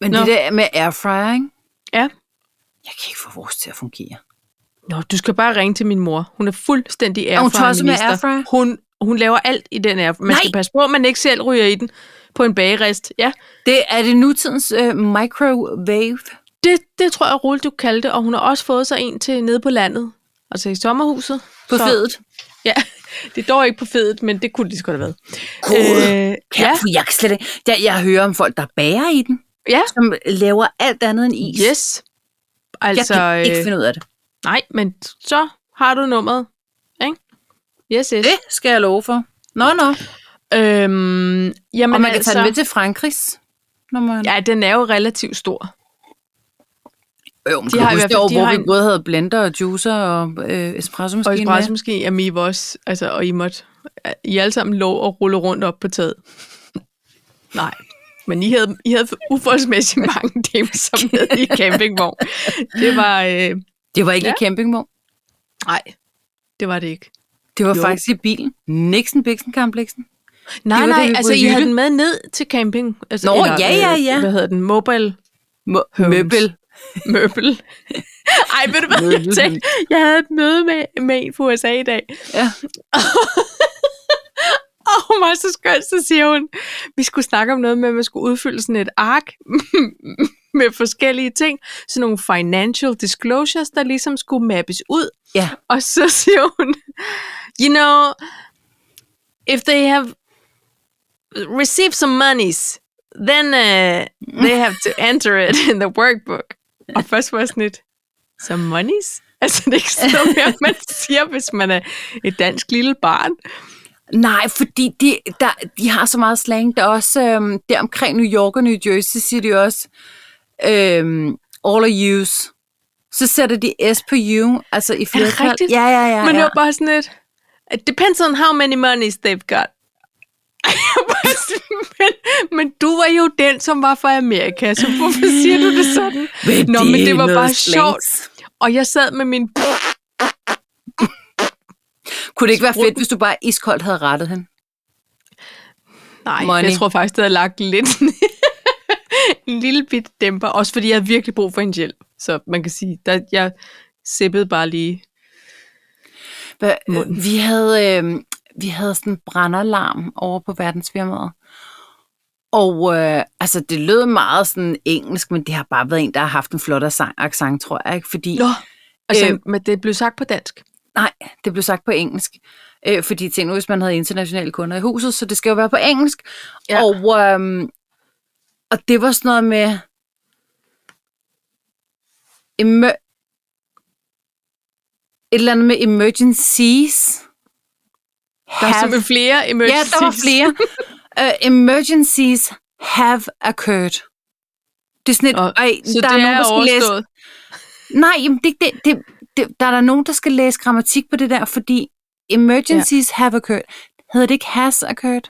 Speaker 1: Men
Speaker 2: Nå.
Speaker 1: Nå. det der med airfryer, ikke?
Speaker 2: ja.
Speaker 1: Jeg kan ikke få vores til at fungere.
Speaker 2: Nå, du skal bare ringe til min mor. Hun er fuldstændig
Speaker 1: hun
Speaker 2: airfryer
Speaker 1: tosset med
Speaker 2: minister.
Speaker 1: airfryer?
Speaker 2: Hun, hun laver alt i den airfryer. Man
Speaker 1: Nej!
Speaker 2: skal passe på, at man ikke selv ryger i den. på en bagerist. Ja,
Speaker 1: Det er det nutidens øh, microwave.
Speaker 2: det, det tror jeg roligt, du kaldte det, og hun har også fået sig en til nede på landet, altså i sommerhuset.
Speaker 1: På
Speaker 2: Så-
Speaker 1: fedet.
Speaker 2: Ja, <laughs> det dog ikke på fedet, men det kunne det lige så godt have været.
Speaker 1: Gud,
Speaker 2: Øh, ja,
Speaker 1: Øh, Ja. Jeg, kan slet ikke. Jeg, jeg hører om folk, der bærer i den,
Speaker 2: ja,
Speaker 1: som laver alt andet end is.
Speaker 2: yes. Altså,
Speaker 1: Altså, jeg kan ikke
Speaker 2: øh,
Speaker 1: finde ud af det.
Speaker 2: nej, men så har du nummeret, ikke? Yes, yes.
Speaker 1: Det skal jeg love for. Nå, nå.
Speaker 2: Øhm, jamen
Speaker 1: Og man kan
Speaker 2: altså,
Speaker 1: tage den med til Frankrigs. Når man...
Speaker 2: Ja, den er jo relativt stor.
Speaker 1: Jo, men
Speaker 2: de
Speaker 1: de
Speaker 2: har
Speaker 1: har
Speaker 2: i
Speaker 1: huske
Speaker 2: hvert
Speaker 1: det
Speaker 2: fald-
Speaker 1: år,
Speaker 2: de
Speaker 1: hvor
Speaker 2: har
Speaker 1: vi
Speaker 2: en-
Speaker 1: både havde blender og juicer og øh, espresso
Speaker 2: Og
Speaker 1: maskine
Speaker 2: espresso måske, jamen I var også, altså, og I måtte, I alle sammen lå og rulle rundt op på taget. Nej, men I havde, I havde uforholdsmæssigt mange <laughs> dem, som med i campingvogn. Det var, øh,
Speaker 1: Det var ikke
Speaker 2: Ja.
Speaker 1: ja. i campingvogn.
Speaker 2: nej, det var det ikke.
Speaker 1: Det var
Speaker 2: Jo.
Speaker 1: jo. faktisk i bilen. Nixon, Bixen, Kompleksen.
Speaker 2: Nej,
Speaker 1: var
Speaker 2: nej,
Speaker 1: da, vi
Speaker 2: altså
Speaker 1: boede i
Speaker 2: I havde
Speaker 1: Jytte.
Speaker 2: den med ned til camping. Altså,
Speaker 1: Nå, ja, ja,
Speaker 2: øh,
Speaker 1: ja.
Speaker 2: Hvad hedder den? Mobile
Speaker 1: Mo-
Speaker 2: Høvns.
Speaker 1: møbel.
Speaker 2: <laughs> møbel. Ej, ved du hvad, jeg
Speaker 1: Møbel.
Speaker 2: tænkte, jeg havde et møde med, med en fra USA i dag,
Speaker 1: Ja.
Speaker 2: <laughs> Og hun var så skønt, så siger hun, vi skulle snakke om noget med, at man skulle udfylde sådan et ark <laughs> med forskellige ting. Sådan nogle financial disclosures, der ligesom skulle mappes ud.
Speaker 1: Ja.
Speaker 2: Og så <laughs> siger hun, you know, if they have received some monies, then uh, they have to enter it in the workbook. Og først var jeg sådan lidt, some monies? Altså, det er ikke sådan noget mere, man siger, hvis man er et dansk lille barn.
Speaker 1: Nej, fordi de, der, de har så meget slang. Der er også øhm, der omkring New York og New Jersey, siger de også øhm, all of yous. Så sætter de S på you, altså i flertal.
Speaker 2: rigtigt?
Speaker 1: Ja, ja, ja.
Speaker 2: Men det
Speaker 1: ja.
Speaker 2: var bare sådan lidt, it depends on how many monies they've got. <laughs> Jeg var sådan, men, men du var jo den, som var fra Amerika, så hvorfor siger du det sådan? Nå, men det var
Speaker 1: noget
Speaker 2: bare sjovt.
Speaker 1: slangs.
Speaker 2: Og jeg sad med min...
Speaker 1: Kunne det ikke være fedt, hvis du bare iskoldt havde rettet hende?
Speaker 2: Nej, Money.
Speaker 1: Money.
Speaker 2: jeg tror faktisk, det havde lagt lidt <laughs> en lille bit dæmper. Også fordi jeg havde virkelig brug for en hjælp. Så man kan sige, der, jeg sippede bare lige.
Speaker 1: Hva,
Speaker 2: Munden.
Speaker 1: øh, vi, havde, øh, vi havde sådan en brandalarm over på verdensfirmaet. Og øh, altså, det lød meget sådan engelsk, men det har bare været en, der har haft en flot accent- accent, tror jeg. Ikke? Fordi,
Speaker 2: Nå, altså, øh,
Speaker 1: Øh.
Speaker 2: men det blev sagt på dansk.
Speaker 1: nej, det blev sagt på engelsk. Øh, fordi tænk nu, hvis man havde internationale kunder i huset, så det skal jo være på engelsk.
Speaker 2: Ja.
Speaker 1: Ja. Og, øh, og det var sådan noget med... Emer- et eller andet med emergencies.
Speaker 2: Der er
Speaker 1: Have-
Speaker 2: simpelthen flere
Speaker 1: Ja,
Speaker 2: emergencies.
Speaker 1: der var flere.
Speaker 2: <laughs>
Speaker 1: uh, emergencies have occurred. Det er sådan et,
Speaker 2: Nå,
Speaker 1: ej,
Speaker 2: Så
Speaker 1: der
Speaker 2: det
Speaker 1: er nogen,
Speaker 2: er
Speaker 1: der skal læse...
Speaker 2: overstået.
Speaker 1: Nej, jamen, det, det, det, det, der er der nogen, der skal læse grammatik på det der, fordi emergencies ja. have occurred. Hedder det ikke has occurred?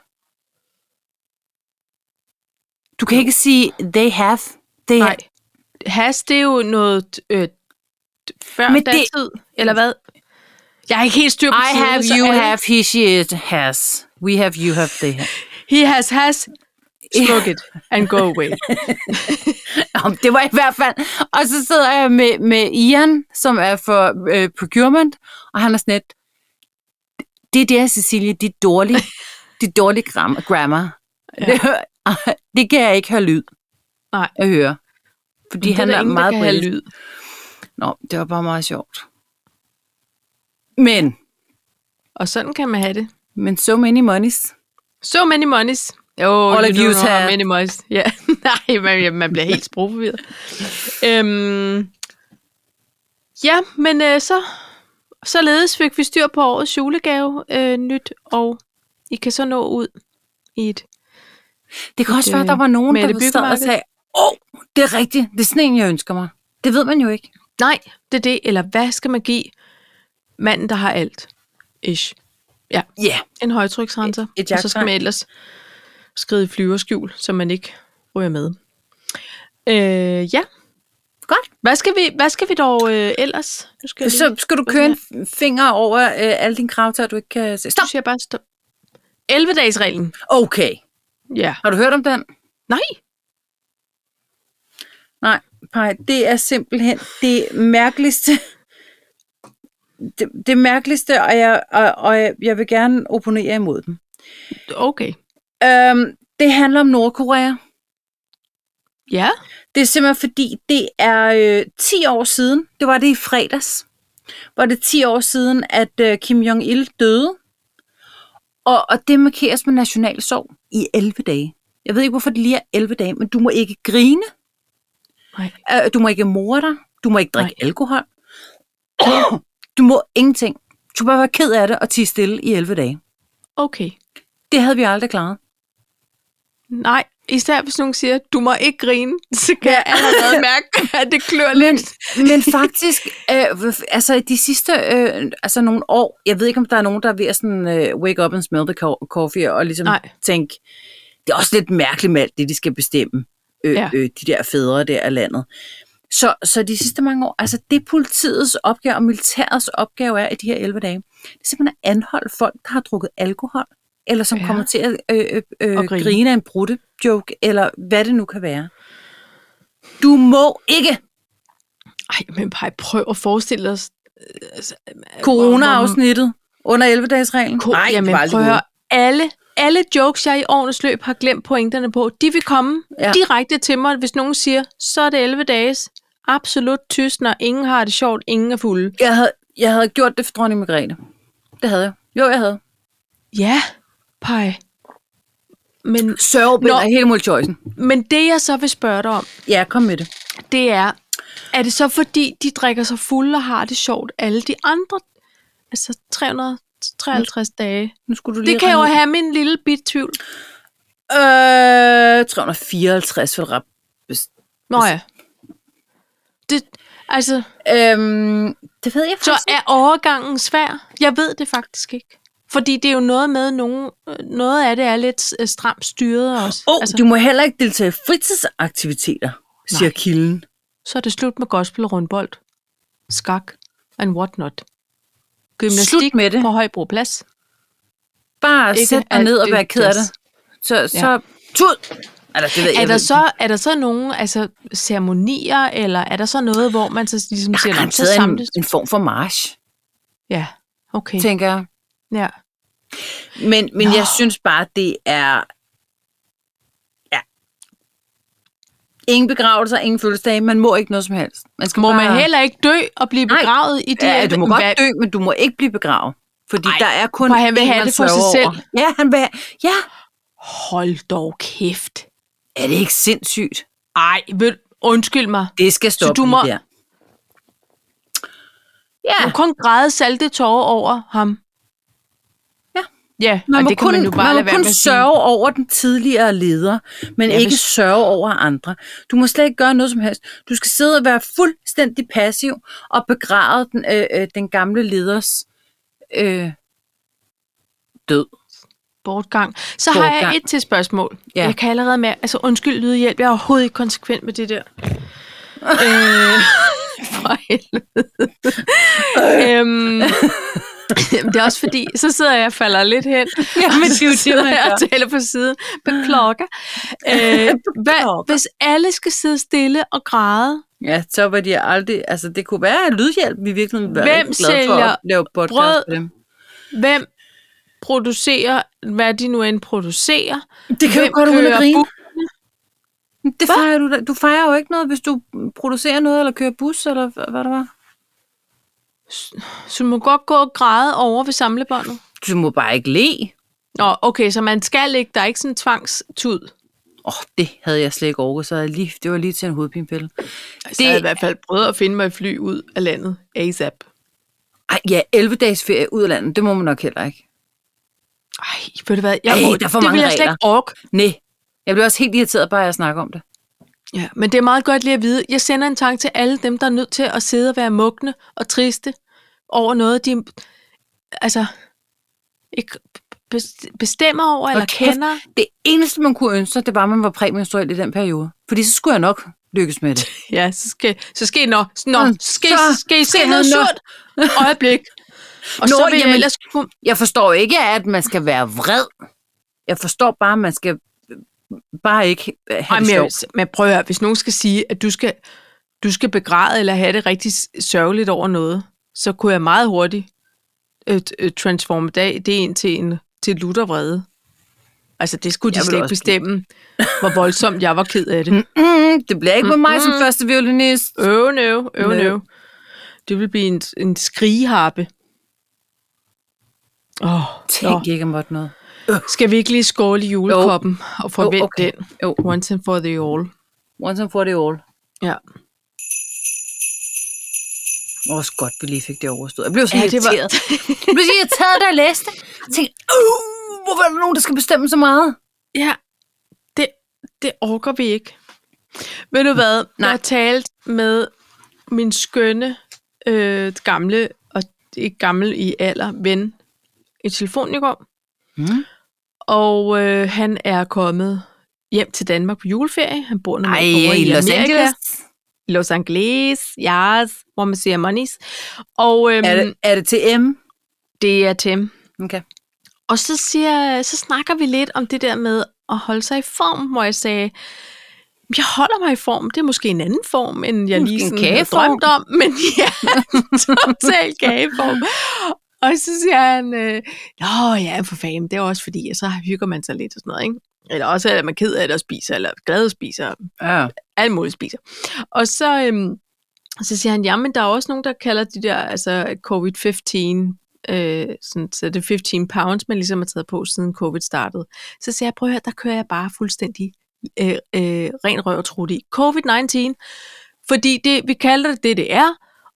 Speaker 1: Du kan ikke sige they have. They
Speaker 2: Nej.
Speaker 1: Have.
Speaker 2: Has, det er jo noget øh, t- før Men
Speaker 1: Men det-
Speaker 2: datid, eller hvad? Jeg er ikke helt styr på
Speaker 1: I
Speaker 2: tiden,
Speaker 1: have,
Speaker 2: så
Speaker 1: you
Speaker 2: alle-
Speaker 1: have, he, she, it, has. We have, you have, they have.
Speaker 2: He has has. <laughs> Smoke it and go away.
Speaker 1: Om det var i hvert fald. Og så sidder jeg med, med Ian, som er for øh, procurement, og han er sådan lidt, det der, Cecilie, det er dårlig,
Speaker 2: <laughs>
Speaker 1: det er dårlig gram, grammar.
Speaker 2: Ja.
Speaker 1: Ja. Det, <laughs> det kan jeg ikke høre lyd
Speaker 2: Nej.
Speaker 1: at høre. Fordi
Speaker 2: Det
Speaker 1: han
Speaker 2: der
Speaker 1: er,
Speaker 2: ingen, der
Speaker 1: meget
Speaker 2: kan have
Speaker 1: britisk.
Speaker 2: lyd.
Speaker 1: Nå, det var bare meget sjovt. Men,
Speaker 2: Og sådan kan man have det.
Speaker 1: men so many monies.
Speaker 2: So many monies. Oh,
Speaker 1: All
Speaker 2: you
Speaker 1: of
Speaker 2: don't
Speaker 1: you
Speaker 2: know how
Speaker 1: have-
Speaker 2: many monies. <laughs> Ja. Nej, man, man bliver helt sprogforvirret. øhm, ja, men øh, så således fik vi styr på årets julegave øh, nyt, og I kan så nå ud i et
Speaker 1: Det kan også
Speaker 2: Øh,
Speaker 1: være, at der var nogen,
Speaker 2: Mette
Speaker 1: der sad og
Speaker 2: Byggemarked.
Speaker 1: sagde, åh, oh, det er rigtigt, det er sådan en, jeg ønsker mig. Det ved man jo ikke.
Speaker 2: Nej, det er det. Eller hvad skal man give manden, der har alt? Ish.
Speaker 1: Ja. Yeah.
Speaker 2: En højtryksrenser.
Speaker 1: Et- et
Speaker 2: og så skal
Speaker 1: jagttegn.
Speaker 2: man ellers skride i flyverskjul, så man ikke ryger med. Øh, ja.
Speaker 1: Godt.
Speaker 2: Hvad skal vi, hvad skal vi dog øh, ellers? Nu skal jeg lige,
Speaker 1: Så skal du køre en f- finger over øh, alle dine kravtager, du ikke kan se.
Speaker 2: du
Speaker 1: Stop!
Speaker 2: siger bare stop. 11-dagsreglen.
Speaker 1: Okay.
Speaker 2: Ja.
Speaker 1: Har du hørt om den?
Speaker 2: Nej.
Speaker 1: Nej, Paj, det er simpelthen det mærkeligste. Det, det mærkeligste, og jeg, og, og jeg, jeg vil gerne opponere imod dem.
Speaker 2: Okay.
Speaker 1: Øhm, Det handler om Nordkorea.
Speaker 2: Ja.
Speaker 1: Det er simpelthen fordi, det er øh, 10 år siden, det var det i fredags, var det 10 år siden, at øh, Kim Jong-il døde. Og, og det markeres med national sorg i 11 dage. Jeg ved ikke, hvorfor det lige er 11 dage, men du må ikke grine,
Speaker 2: Nej.
Speaker 1: øh, du må ikke more dig, du må ikke drikke
Speaker 2: Nej.
Speaker 1: alkohol. du må ingenting. Du må bare være ked af det og tige stille i 11 dage.
Speaker 2: Okay.
Speaker 1: Det havde vi aldrig klaret.
Speaker 2: Nej, især hvis nogen siger, du må ikke grine, så kan jeg
Speaker 1: <laughs>
Speaker 2: allerede mærke, at det klør lidt.
Speaker 1: Men faktisk, øh, altså i de sidste øh, altså nogle år, jeg ved ikke, om der er nogen, der er ved at sådan, øh, wake up and smell the co- coffee, og ligesom
Speaker 2: Nej.
Speaker 1: Nej. tænke, det er også lidt mærkeligt med alt det, de skal bestemme, øh,
Speaker 2: Ja.
Speaker 1: ja. øh, de der fædre der af landet. Så, så de sidste mange år, altså det politiets opgave og militærets opgave er i de her 11 dage, det er simpelthen at anholde folk, der har drukket alkohol, eller som
Speaker 2: Ja.
Speaker 1: ja. kommer til at øh, øh, øh,
Speaker 2: Og grine.
Speaker 1: grine. grine af en brutte joke, eller hvad det nu kan være. Du må ikke
Speaker 2: Ej, men bare prøv at forestille os. øh, altså,
Speaker 1: Corona-afsnittet under 11-dagsreglen?
Speaker 2: Ko- Nej, jamen, prøv at høre. Alle, alle jokes, jeg i årenes løb har glemt pointerne på, de vil komme ja.
Speaker 1: Ja.
Speaker 2: direkte til mig, hvis nogen siger, så er det 11 dages. Absolut tyst, når ingen har det sjovt, ingen er fulde.
Speaker 1: Jeg havde, jeg havde gjort det for dronning Margrethe. Det havde jeg. Jo, jeg havde.
Speaker 2: Ja, pej. Men,
Speaker 1: Sørgebind
Speaker 2: Nå.
Speaker 1: er helt muligt choicen.
Speaker 2: men det, jeg så vil spørge dig om,
Speaker 1: Ja, kom med det.
Speaker 2: det er, er det så fordi, de drikker sig fulde og har det sjovt, alle de andre, altså 353 dage?
Speaker 1: Nu skulle du lige
Speaker 2: Det kan jo
Speaker 1: regne
Speaker 2: have min lille bit tvivl.
Speaker 1: ud. Øh, 354 for rap.
Speaker 2: Nå ja. Det, altså,
Speaker 1: Øhm, det ved jeg faktisk
Speaker 2: Så er overgangen svær? Jeg ved det faktisk ikke. Fordi det er jo noget med, nogen, øh, noget af det er lidt øh, stramt styret også.
Speaker 1: Åh, oh, altså, du må heller ikke deltage i fritidsaktiviteter, siger
Speaker 2: Nej.
Speaker 1: Nej. kilden.
Speaker 2: Så er det slut med gospel og rundbold. Skak and what not. Gymnastik
Speaker 1: Slut med det.
Speaker 2: på Højbro Plads.
Speaker 1: Bare
Speaker 2: Ikke
Speaker 1: ikke sæt dig
Speaker 2: alt
Speaker 1: ned og
Speaker 2: det
Speaker 1: vær ked af det.
Speaker 2: jazz.
Speaker 1: Så, så ja. tud! Eller, det ved jeg,
Speaker 2: Er der,
Speaker 1: ved-
Speaker 2: så, er der så nogen altså, ceremonier, eller er der så noget, hvor man så ligesom
Speaker 1: Der
Speaker 2: siger,
Speaker 1: er
Speaker 2: "Nå, så
Speaker 1: garanteret en,
Speaker 2: samles.
Speaker 1: en form for march,
Speaker 2: Ja, okay.
Speaker 1: tænker jeg.
Speaker 2: Ja.
Speaker 1: Men, men
Speaker 2: Nå.
Speaker 1: jeg synes bare, det er... Ja. Ingen begravelser, ingen fødselsdage. Man må ikke noget som helst. Man skal
Speaker 2: Må
Speaker 1: bare...
Speaker 2: man heller ikke dø og blive
Speaker 1: Ah. Nej.
Speaker 2: begravet i det?
Speaker 1: Ja, du må
Speaker 2: Hvad-
Speaker 1: godt dø, men du må ikke blive begravet. Fordi
Speaker 2: Ej,
Speaker 1: Ej, der er kun
Speaker 2: for han vil
Speaker 1: én,
Speaker 2: have
Speaker 1: man
Speaker 2: det for sig
Speaker 1: sørger
Speaker 2: selv.
Speaker 1: over. Ja, han vil have... Ja.
Speaker 2: Hold dog kæft.
Speaker 1: Er det ikke sindssygt?
Speaker 2: Ej, ved, undskyld mig.
Speaker 1: Det skal stoppe
Speaker 2: du må-
Speaker 1: det der.
Speaker 2: Du
Speaker 1: Ja,
Speaker 2: må kun græde salte tårer over ham.
Speaker 1: Ja.
Speaker 2: Ja,
Speaker 1: man
Speaker 2: og
Speaker 1: må
Speaker 2: det kan
Speaker 1: kun,
Speaker 2: man jo bare
Speaker 1: man må
Speaker 2: lade være
Speaker 1: kun
Speaker 2: med at sige.
Speaker 1: sørge over den tidligere leder, men
Speaker 2: Ja,
Speaker 1: ja, ikke
Speaker 2: hvis-
Speaker 1: sørge over andre. Du må slet ikke gøre noget som helst. Du skal sidde og være fuldstændig passiv og begræde den, øh, øh, den gamle leders øh, død.
Speaker 2: Bortgang. Så har jeg
Speaker 1: Bortgang.
Speaker 2: et til spørgsmål.
Speaker 1: Ja.
Speaker 2: Jeg kan allerede med, altså undskyld lydhjælp, jeg er overhovedet ikke konsekvent med det <laughs> der. øh, <laughs> for helvede. øhm, <laughs> det er også fordi, så sidder jeg og falder lidt <laughs> hen,
Speaker 1: Ja,
Speaker 2: men
Speaker 1: det er jo
Speaker 2: så
Speaker 1: det,
Speaker 2: sidder
Speaker 1: man
Speaker 2: jeg og
Speaker 1: gør.
Speaker 2: taler på siden. <laughs> Beklager. Øh, hvad,
Speaker 1: Beklager.
Speaker 2: hvis alle skal sidde stille og græde,
Speaker 1: Ja, så var de aldrig... Altså, det kunne være at lydhjælp, vi virkelig ville være
Speaker 2: Hvem
Speaker 1: rigtig glade for
Speaker 2: sælger
Speaker 1: at lave podcast
Speaker 2: brød?
Speaker 1: for dem.
Speaker 2: hvem producerer, hvad de nu end producerer.
Speaker 1: Det kan
Speaker 2: Hvem
Speaker 1: du godt holde
Speaker 2: kører
Speaker 1: grine.
Speaker 2: bus?
Speaker 1: Det fejrer du, da- du fejrer jo ikke noget, hvis du producerer noget, eller kører bus, eller hva- hvad det var.
Speaker 2: Så man må godt gå og græde over ved samlebåndet.
Speaker 1: Du må bare ikke le.
Speaker 2: Nå, okay, så man skal ikke, der er ikke sådan en tvangstud.
Speaker 1: Åh, oh, det havde jeg slet ikke orket, så havde jeg lige, det var lige til en hovedpinepille.
Speaker 2: Altså, det... Jeg har i hvert fald prøvet at finde mig et fly ud af landet ASAP.
Speaker 1: Ej, ja, 11 dages ferie ud af landet, det må man nok heller ikke.
Speaker 2: Ej, ved du hvad? Jeg,
Speaker 1: Ej,
Speaker 2: må-
Speaker 1: der er for
Speaker 2: det
Speaker 1: mange
Speaker 2: vil jeg slet
Speaker 1: regler.
Speaker 2: ikke orke.
Speaker 1: Nej, jeg bliver også helt irriteret bare af at snakke om det.
Speaker 2: Ja, men det er meget godt lige at vide. Jeg sender en tanke til alle dem, der er nødt til at sidde og være mugne og triste over noget, de altså ikke bes- bestemmer over eller
Speaker 1: kæft,
Speaker 2: kender.
Speaker 1: Det eneste, man kunne ønske sig, det var, at man var præmenstruel i den periode. Fordi så skulle jeg nok lykkes med
Speaker 2: <laughs>
Speaker 1: det.
Speaker 2: Ja, så skal, så skal I, nå, nå,
Speaker 1: Mm,
Speaker 2: skal,
Speaker 1: så
Speaker 2: så, skal I se
Speaker 1: skal
Speaker 2: noget
Speaker 1: jeg nå.
Speaker 2: surt? Øjeblik. Og så
Speaker 1: Nå,
Speaker 2: vil jeg
Speaker 1: jamen-
Speaker 2: ellers kunne...
Speaker 1: Jeg forstår ikke, at man skal være vred. Jeg forstår bare, at man skal øh, bare ikke øh, have
Speaker 2: Ej,
Speaker 1: det
Speaker 2: men,
Speaker 1: sjovt.
Speaker 2: jeg- men prøv at høre, hvis nogen skal sige, at du skal, du skal begræde eller have det rigtig s- sørgeligt over noget, så kunne jeg meget hurtigt øh, t- øh, transforme dag, det ind til en til luttervrede. Altså, det skulle
Speaker 1: Jeg vil
Speaker 2: de slet ikke
Speaker 1: også
Speaker 2: bestemme, hvor voldsomt jeg var ked af det.
Speaker 1: Mm, det bliver ikke med mig som
Speaker 2: Mm-mm.
Speaker 1: første violinist.
Speaker 2: Øv, nøv, øv,
Speaker 1: Nøv.
Speaker 2: nøv. Det ville blive en, en skrigeharpe. Åh, oh,
Speaker 1: Tænk ikke, jeg måtte noget.
Speaker 2: Skal vi ikke lige skåle i julekoppen og forvente
Speaker 1: Jo,
Speaker 2: oh,
Speaker 1: okay.
Speaker 2: okay.
Speaker 1: Jo.
Speaker 2: den? Once and for the all.
Speaker 1: Once and for the all.
Speaker 2: Ja.
Speaker 1: Også godt, vi lige fik det overstået. Jeg blev så
Speaker 2: Ja,
Speaker 1: ja,
Speaker 2: det var-
Speaker 1: irriteret. jeg blev så irriteret, da jeg læste det. Jeg tænkte, uh, hvorfor er der nogen, der skal bestemme så meget?
Speaker 2: Ja, det, det orker vi ikke. Ved du hvad?
Speaker 1: Nej.
Speaker 2: Jeg har talt med min skønne, øh, gamle, og ikke gammel i alder, ven i telefonen i går.
Speaker 1: Mm.
Speaker 2: Og øh, han er kommet hjem til Danmark på juleferie. Han bor
Speaker 1: Ej,
Speaker 2: normalt over
Speaker 1: i Los
Speaker 2: Amerika.
Speaker 1: Angeles.
Speaker 2: I Los Angeles, yes, hvor man siger monies. Og øhm,
Speaker 1: Er det, er det til M?
Speaker 2: det er Tim.
Speaker 1: Okay.
Speaker 2: Og så, siger, så snakker vi lidt om det der med at holde sig i form, hvor jeg sagde, jeg holder mig i form. Det er måske en anden form, end jeg
Speaker 1: Måske
Speaker 2: lige
Speaker 1: en
Speaker 2: sådan havde
Speaker 1: kageform.
Speaker 2: drømt om. <laughs> Men ja, total kageform. Og så siger han, øh, Nå ja, for fanden, det er også fordi, at så hygger man sig lidt og sådan noget, ikke? Eller også er man ked af det og spiser, eller glad og spiser,
Speaker 1: Ja.
Speaker 2: alt muligt spiser. Og så, øhm, så siger han, jamen der er også nogen, der kalder de der altså covid-15, øh, sådan, så det er 15 pounds, man ligesom har taget på, siden covid startede. Så siger jeg, prøv at høre, der kører jeg bare fuldstændig øh, øh, ren røv og trut i. Covid-19, fordi det, vi kalder det det, det er,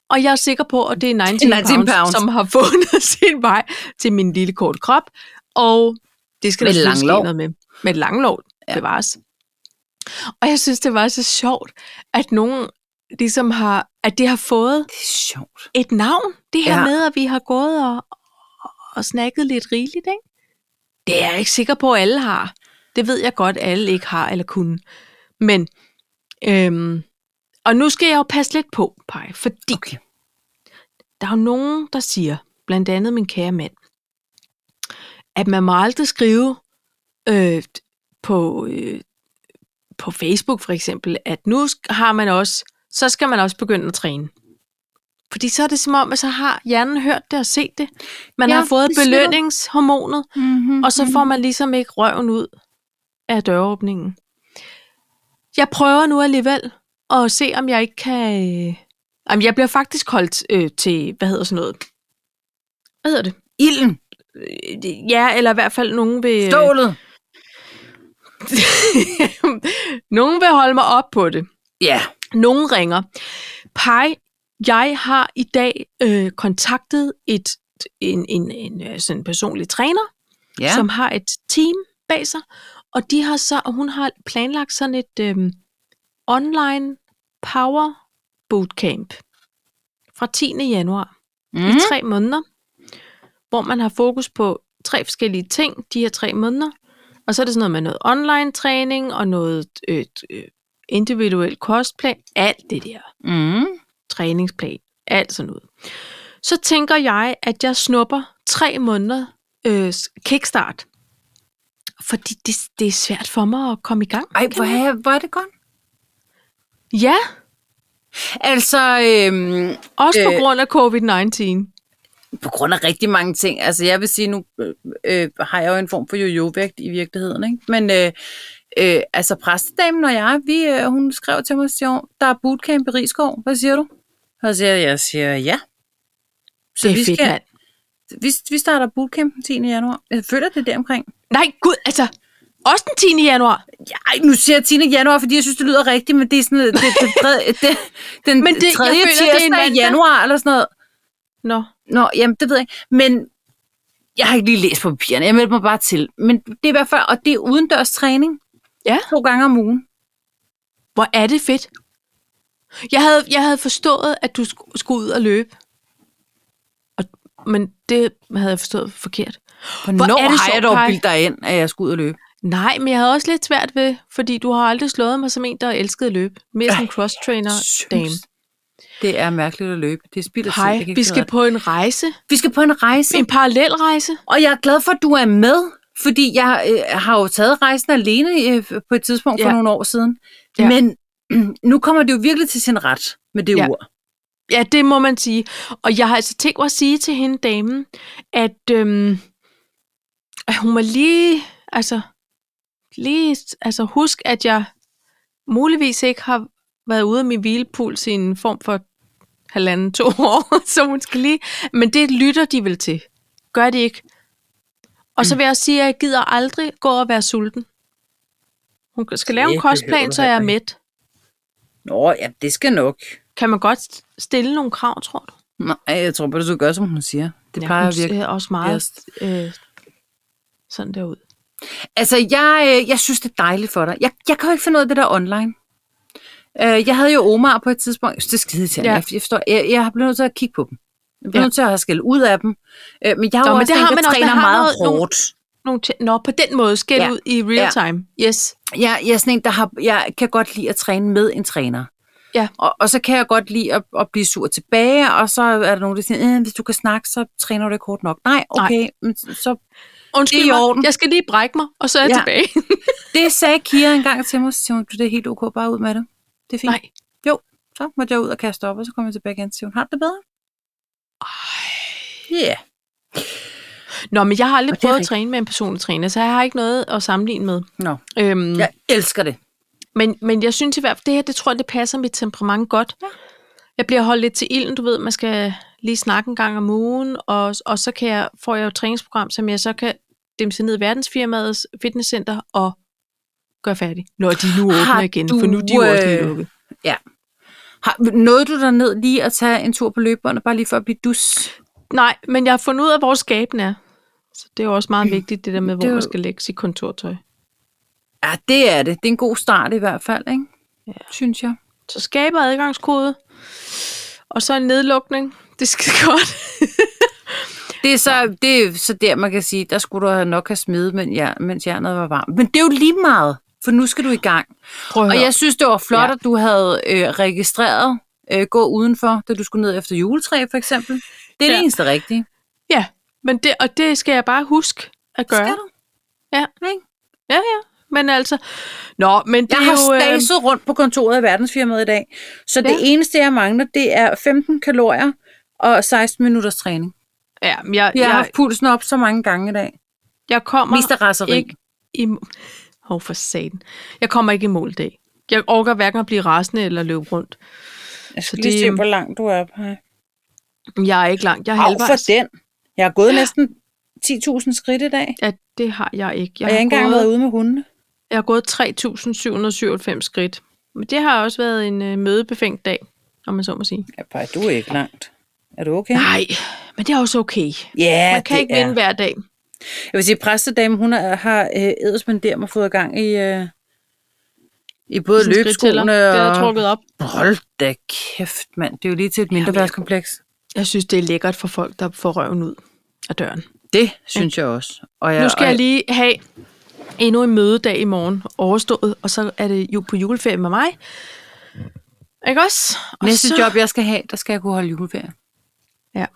Speaker 2: og jeg er sikker på, at det er
Speaker 1: 19
Speaker 2: 19, pounds,
Speaker 1: pounds.
Speaker 2: pounds, som har <laughs> fundet sin vej til min lille kort krop, og det skal
Speaker 1: Med
Speaker 2: der selvfølgelig ske
Speaker 1: langlov.
Speaker 2: noget med. Med langlov, ja. bevares. Og jeg synes, det var så sjovt, at nogen ligesom har, at det har fået
Speaker 1: Det er sjovt.
Speaker 2: et navn, det her
Speaker 1: Ja.
Speaker 2: ja. med, at vi har gået og, og snakket lidt rigeligt, ikke? Det er jeg ikke sikker på, at alle har. Det ved jeg godt, at alle ikke har eller kunne. Men, øhm, og nu skal jeg jo passe lidt på, Paj, fordi
Speaker 1: Okay.
Speaker 2: der er jo nogen, der siger, blandt andet min kære mand, at man må aldrig skrive øh, på, øh, på Facebook for eksempel, at nu sk- har man også, så skal man også begynde at træne. Fordi så er det som om, at så har hjernen hørt det og set det. Man
Speaker 1: Ja,
Speaker 2: ja, har fået
Speaker 1: det siger du.
Speaker 2: belønningshormonet,
Speaker 1: Mm-hmm.
Speaker 2: og så får man ligesom ikke røven ud af døråbningen. Jeg prøver nu alligevel at se, om jeg ikke kan... Øh... Jamen, jeg bliver faktisk holdt øh, til, hvad hedder sådan noget? Hvad hedder det?
Speaker 1: Ilden.
Speaker 2: Øh, det- Ja, eller i hvert fald nogen vil...
Speaker 1: Stålet.
Speaker 2: <laughs> nogen vil holde mig op på det.
Speaker 1: Ja.
Speaker 2: Nogen ringer. Pej, jeg har i dag øh, kontaktet et, en, en, en, en sådan personlig træner,
Speaker 1: Ja.
Speaker 2: som har et team bag sig, og de har så, og hun har planlagt sådan et øhm, online power bootcamp fra 10. januar mm. i
Speaker 1: mm.
Speaker 2: tre måneder, hvor man har fokus på tre forskellige ting de her tre måneder, og så er det sådan noget med noget online træning og noget øh, øh, individuel kostplan, alt det der
Speaker 1: Mm.
Speaker 2: træningsplan, alt sådan noget. Så tænker jeg, at jeg snupper tre måneder øh, kickstart. Fordi det, det er svært for mig at komme i gang.
Speaker 1: Ej,
Speaker 2: kan
Speaker 1: hvor
Speaker 2: jeg-
Speaker 1: er, hvor er det godt.
Speaker 2: Ja,
Speaker 1: Altså, øhm,
Speaker 2: også øh.
Speaker 1: Øh.
Speaker 2: på grund af covid-19.
Speaker 1: på grund af rigtig mange ting. Altså, jeg vil sige, nu øh, øh, har jeg jo en form for jojo-vægt i virkeligheden, ikke? Men øh, øh, altså, præstedamen og jeg, vi, øh, hun skrev til mig, siger, hun, der er bootcamp i Rigskov. Hvad siger du? Og så siger jeg, jeg siger ja. Så
Speaker 2: Det er
Speaker 1: vi,
Speaker 2: fedt, mand.
Speaker 1: vi, vi starter bootcamp den 10. januar. Jeg føler det er deromkring.
Speaker 2: Nej, gud, altså, også den 10. januar.
Speaker 1: Ja, ej, nu siger jeg 10. januar, fordi jeg synes, det lyder rigtigt, men det er sådan noget, det, det, det, det, den <laughs>
Speaker 2: Men det- jeg
Speaker 1: tredje
Speaker 2: føler, det er en
Speaker 1: tirsdag i
Speaker 2: mandag.
Speaker 1: januar, eller sådan noget.
Speaker 2: Nå,
Speaker 1: Nå, jamen, det ved jeg ikke. Men jeg har ikke lige læst på papirerne. Jeg meldte mig bare til. Men det er i hvert fald, og det er udendørs træning.
Speaker 2: Ja.
Speaker 1: To gange om ugen.
Speaker 2: hvor er det fedt. Jeg havde, jeg havde forstået, at du sk- skulle ud og løbe. Og, men det havde jeg forstået forkert.
Speaker 1: Hvornår
Speaker 2: er det
Speaker 1: har jeg
Speaker 2: sjovt,
Speaker 1: dog
Speaker 2: Kai?
Speaker 1: bildt dig ind, at jeg skulle ud og løbe?
Speaker 2: Nej, men jeg havde også lidt svært ved, fordi du har aldrig slået mig som en, der elskede at løbe. Mere som
Speaker 1: Ej,
Speaker 2: cross-trainer.
Speaker 1: Synes,
Speaker 2: Dame.
Speaker 1: Det er mærkeligt at løbe. Det er spild af tid. Jeg
Speaker 2: Hej,
Speaker 1: kan ikke
Speaker 2: vi
Speaker 1: finde ud
Speaker 2: skal
Speaker 1: af
Speaker 2: på en rejse.
Speaker 1: det. vi skal på en rejse.
Speaker 2: En parallelrejse.
Speaker 1: Og jeg er glad for, at du er med, fordi jeg øh, har jo taget rejsen alene øh, på et tidspunkt for
Speaker 2: Ja.
Speaker 1: nogle år siden.
Speaker 2: Ja.
Speaker 1: Men <clears throat> nu kommer det jo virkelig til sin ret med det
Speaker 2: Ja.
Speaker 1: ord.
Speaker 2: Ja, det må man sige. Og jeg har altså tænkt mig at sige til hende, damen, at, øhm, at hun må lige... Altså, lige altså husk, at jeg muligvis ikke har været ude af min hvilepuls i en form for halvanden, to <laughs> år, så hun skal lige... Men det lytter de vel til. Gør de ikke. Og
Speaker 1: Mm.
Speaker 2: så vil jeg også sige, at jeg gider aldrig gå og være sulten. Hun skal lave en
Speaker 1: Det behøver
Speaker 2: kostplan,
Speaker 1: du
Speaker 2: så jeg er
Speaker 1: heller ikke.
Speaker 2: mæt.
Speaker 1: Nå, ja, det skal nok.
Speaker 2: Kan man godt stille nogle krav, tror du?
Speaker 1: Nej, jeg tror bare, du skal gøre, som hun siger. Det ja, plejer
Speaker 2: hun
Speaker 1: at virke.
Speaker 2: ser også meget øh, sådan derud.
Speaker 1: Altså, jeg, øh, jeg synes, det er dejligt for dig. Jeg, jeg kan jo ikke finde ud af det der online. Øh, jeg havde jo Omar på et tidspunkt. Jeg synes, Det er skide til, ja.
Speaker 2: Ja.
Speaker 1: jeg, jeg, forstår, jeg, jeg har blevet nødt til at kigge på dem. Jeg bliver
Speaker 2: Ja.
Speaker 1: ja. nødt til at have skæld ud af dem. Øh, men jeg har
Speaker 2: Nå,
Speaker 1: jo
Speaker 2: men
Speaker 1: også
Speaker 2: det har
Speaker 1: tænkt,
Speaker 2: man
Speaker 1: jeg
Speaker 2: også. Man
Speaker 1: træner
Speaker 2: har
Speaker 1: meget
Speaker 2: noget- nogle-
Speaker 1: hårdt.
Speaker 2: Nogle tæ- Nå, på den måde skal
Speaker 1: Ja.
Speaker 2: ja. ud i real
Speaker 1: Ja.
Speaker 2: time. Yes.
Speaker 1: Jeg, jeg er sådan en, der har, jeg kan godt lide at træne med en træner.
Speaker 2: Ja.
Speaker 1: Og, og så kan jeg godt lide at, at blive sur tilbage, og så er der nogen, der siger, "Øh, hvis du kan snakke, så træner du ikke hårdt nok. Nej, okay, Nej. Men, så Det
Speaker 2: Undskyld
Speaker 1: er i
Speaker 2: mig,
Speaker 1: orden.
Speaker 2: jeg skal lige brække mig, og så er jeg
Speaker 1: Ja.
Speaker 2: ja. tilbage.
Speaker 1: Det sagde Kira engang til mig, så siger hun, du det er helt ok, bare ud med det. Det er fint.
Speaker 2: <laughs> Nej.
Speaker 1: Jo, så måtte jeg ud og kaste op, og så kom jeg tilbage igen, og siger hun, har du det bedre? Ja. Yeah.
Speaker 2: Nå, men jeg har
Speaker 1: Og
Speaker 2: aldrig
Speaker 1: det er
Speaker 2: prøvet at
Speaker 1: rigtigt.
Speaker 2: træne med en personlig træner, så jeg har ikke noget at sammenligne med.
Speaker 1: Nå,
Speaker 2: Øhm, ja.
Speaker 1: Mm. jeg elsker det.
Speaker 2: men, men jeg synes i hvert fald, det her, det tror jeg, det passer mit temperament godt. Ja. Jeg bliver holdt lidt til ilden, du ved, man skal lige snakke en gang om ugen, og, og så kan jeg, får jeg jo et træningsprogram, som jeg så kan dimse ned i verdensfirmaets fitnesscenter og gøre færdig, når de nu åbner
Speaker 1: Har
Speaker 2: igen,
Speaker 1: du,
Speaker 2: for nu er de jo også lige
Speaker 1: øh,
Speaker 2: lukket.
Speaker 1: Har, nåede du der ned lige at tage en tur på løbebåndet, bare lige for at blive dus?
Speaker 2: Nej, men jeg har fundet ud af, hvor skabene er. Så det er jo også meget vigtigt, det der med, hvor
Speaker 1: Det er
Speaker 2: man
Speaker 1: jo-
Speaker 2: skal lægge sit kontortøj.
Speaker 1: Ja, det er det. Det er en god start i hvert fald, ikke? Ja. Synes jeg.
Speaker 2: Så skaber adgangskode, og så en nedlukning. Det skal godt.
Speaker 1: Det er, så, det er så der, man kan sige, der skulle du have nok have smidt, men jeg, mens jernet var varmt. Men det er jo lige meget, for nu skal du i gang.
Speaker 2: Prøv
Speaker 1: Og jeg synes, det var flot, ja.
Speaker 2: Ja.
Speaker 1: at du havde øh, registreret øh, gå udenfor, da du skulle ned efter juletræ, for eksempel. Det er ja. det
Speaker 2: Ja.
Speaker 1: eneste rigtige.
Speaker 2: Ja, men det, og det skal jeg bare huske at gøre.
Speaker 1: Skal du?
Speaker 2: Ja.
Speaker 1: Ikke?
Speaker 2: Ja, ja. Men altså, nå, men det
Speaker 1: Jeg
Speaker 2: er
Speaker 1: har
Speaker 2: jo... øh,
Speaker 1: staset rundt på kontoret af verdensfirmaet i dag, så ja. det
Speaker 2: Ja.
Speaker 1: eneste, jeg mangler, det er 15 kalorier og 16 minutters træning.
Speaker 2: ja, men jeg,
Speaker 1: Jeg har
Speaker 2: jeg,
Speaker 1: haft pulsen op så mange gange i dag.
Speaker 2: jeg kommer
Speaker 1: Mest af raseri.
Speaker 2: ikke i mål. Hov for satan. Jeg kommer ikke i mål i dag. Jeg orker hverken at blive rasende eller løbe rundt.
Speaker 1: Jeg skal
Speaker 2: Så
Speaker 1: lige
Speaker 2: det,
Speaker 1: se,
Speaker 2: øhm,
Speaker 1: hvor langt du er på her.
Speaker 2: Jeg er ikke langt. Jeg er
Speaker 1: Af for
Speaker 2: halvvejs.
Speaker 1: den. Jeg har gået næsten 10.000 skridt i dag,
Speaker 2: Ja, det har jeg ikke.
Speaker 1: og jeg har ikke engang
Speaker 2: gået-
Speaker 1: været ude med hundene.
Speaker 2: Jeg har gået 3.797 skridt. Men det har også været en øh, mødebefængt dag, om man så må sige.
Speaker 1: Ja, bare, du er ikke langt. Er du okay?
Speaker 2: Nej, men det er også okay.
Speaker 1: Ja,
Speaker 2: Man kan
Speaker 1: det
Speaker 2: ikke
Speaker 1: er.
Speaker 2: vinde hver dag.
Speaker 1: Jeg vil sige, præstedame, hun er, har øh, edderspenderet mig fået gang i, øh, i både
Speaker 2: Sådan en skridttæller.
Speaker 1: løbeskoene
Speaker 2: Den er
Speaker 1: og...
Speaker 2: trukket op.
Speaker 1: Hold da kæft, mand. Det er jo lige til et mindre værtskompleks.
Speaker 2: Jeg synes, det er lækkert for folk, der får røven ud af døren.
Speaker 1: Det synes jeg også. Og jeg,
Speaker 2: nu skal
Speaker 1: og
Speaker 2: jeg lige have endnu en mødedag i morgen overstået, og så er det jo på juleferie med mig. Ikke også? Og
Speaker 1: Næste
Speaker 2: så,
Speaker 1: job, jeg skal have, der skal jeg kunne holde juleferie.
Speaker 2: Ja,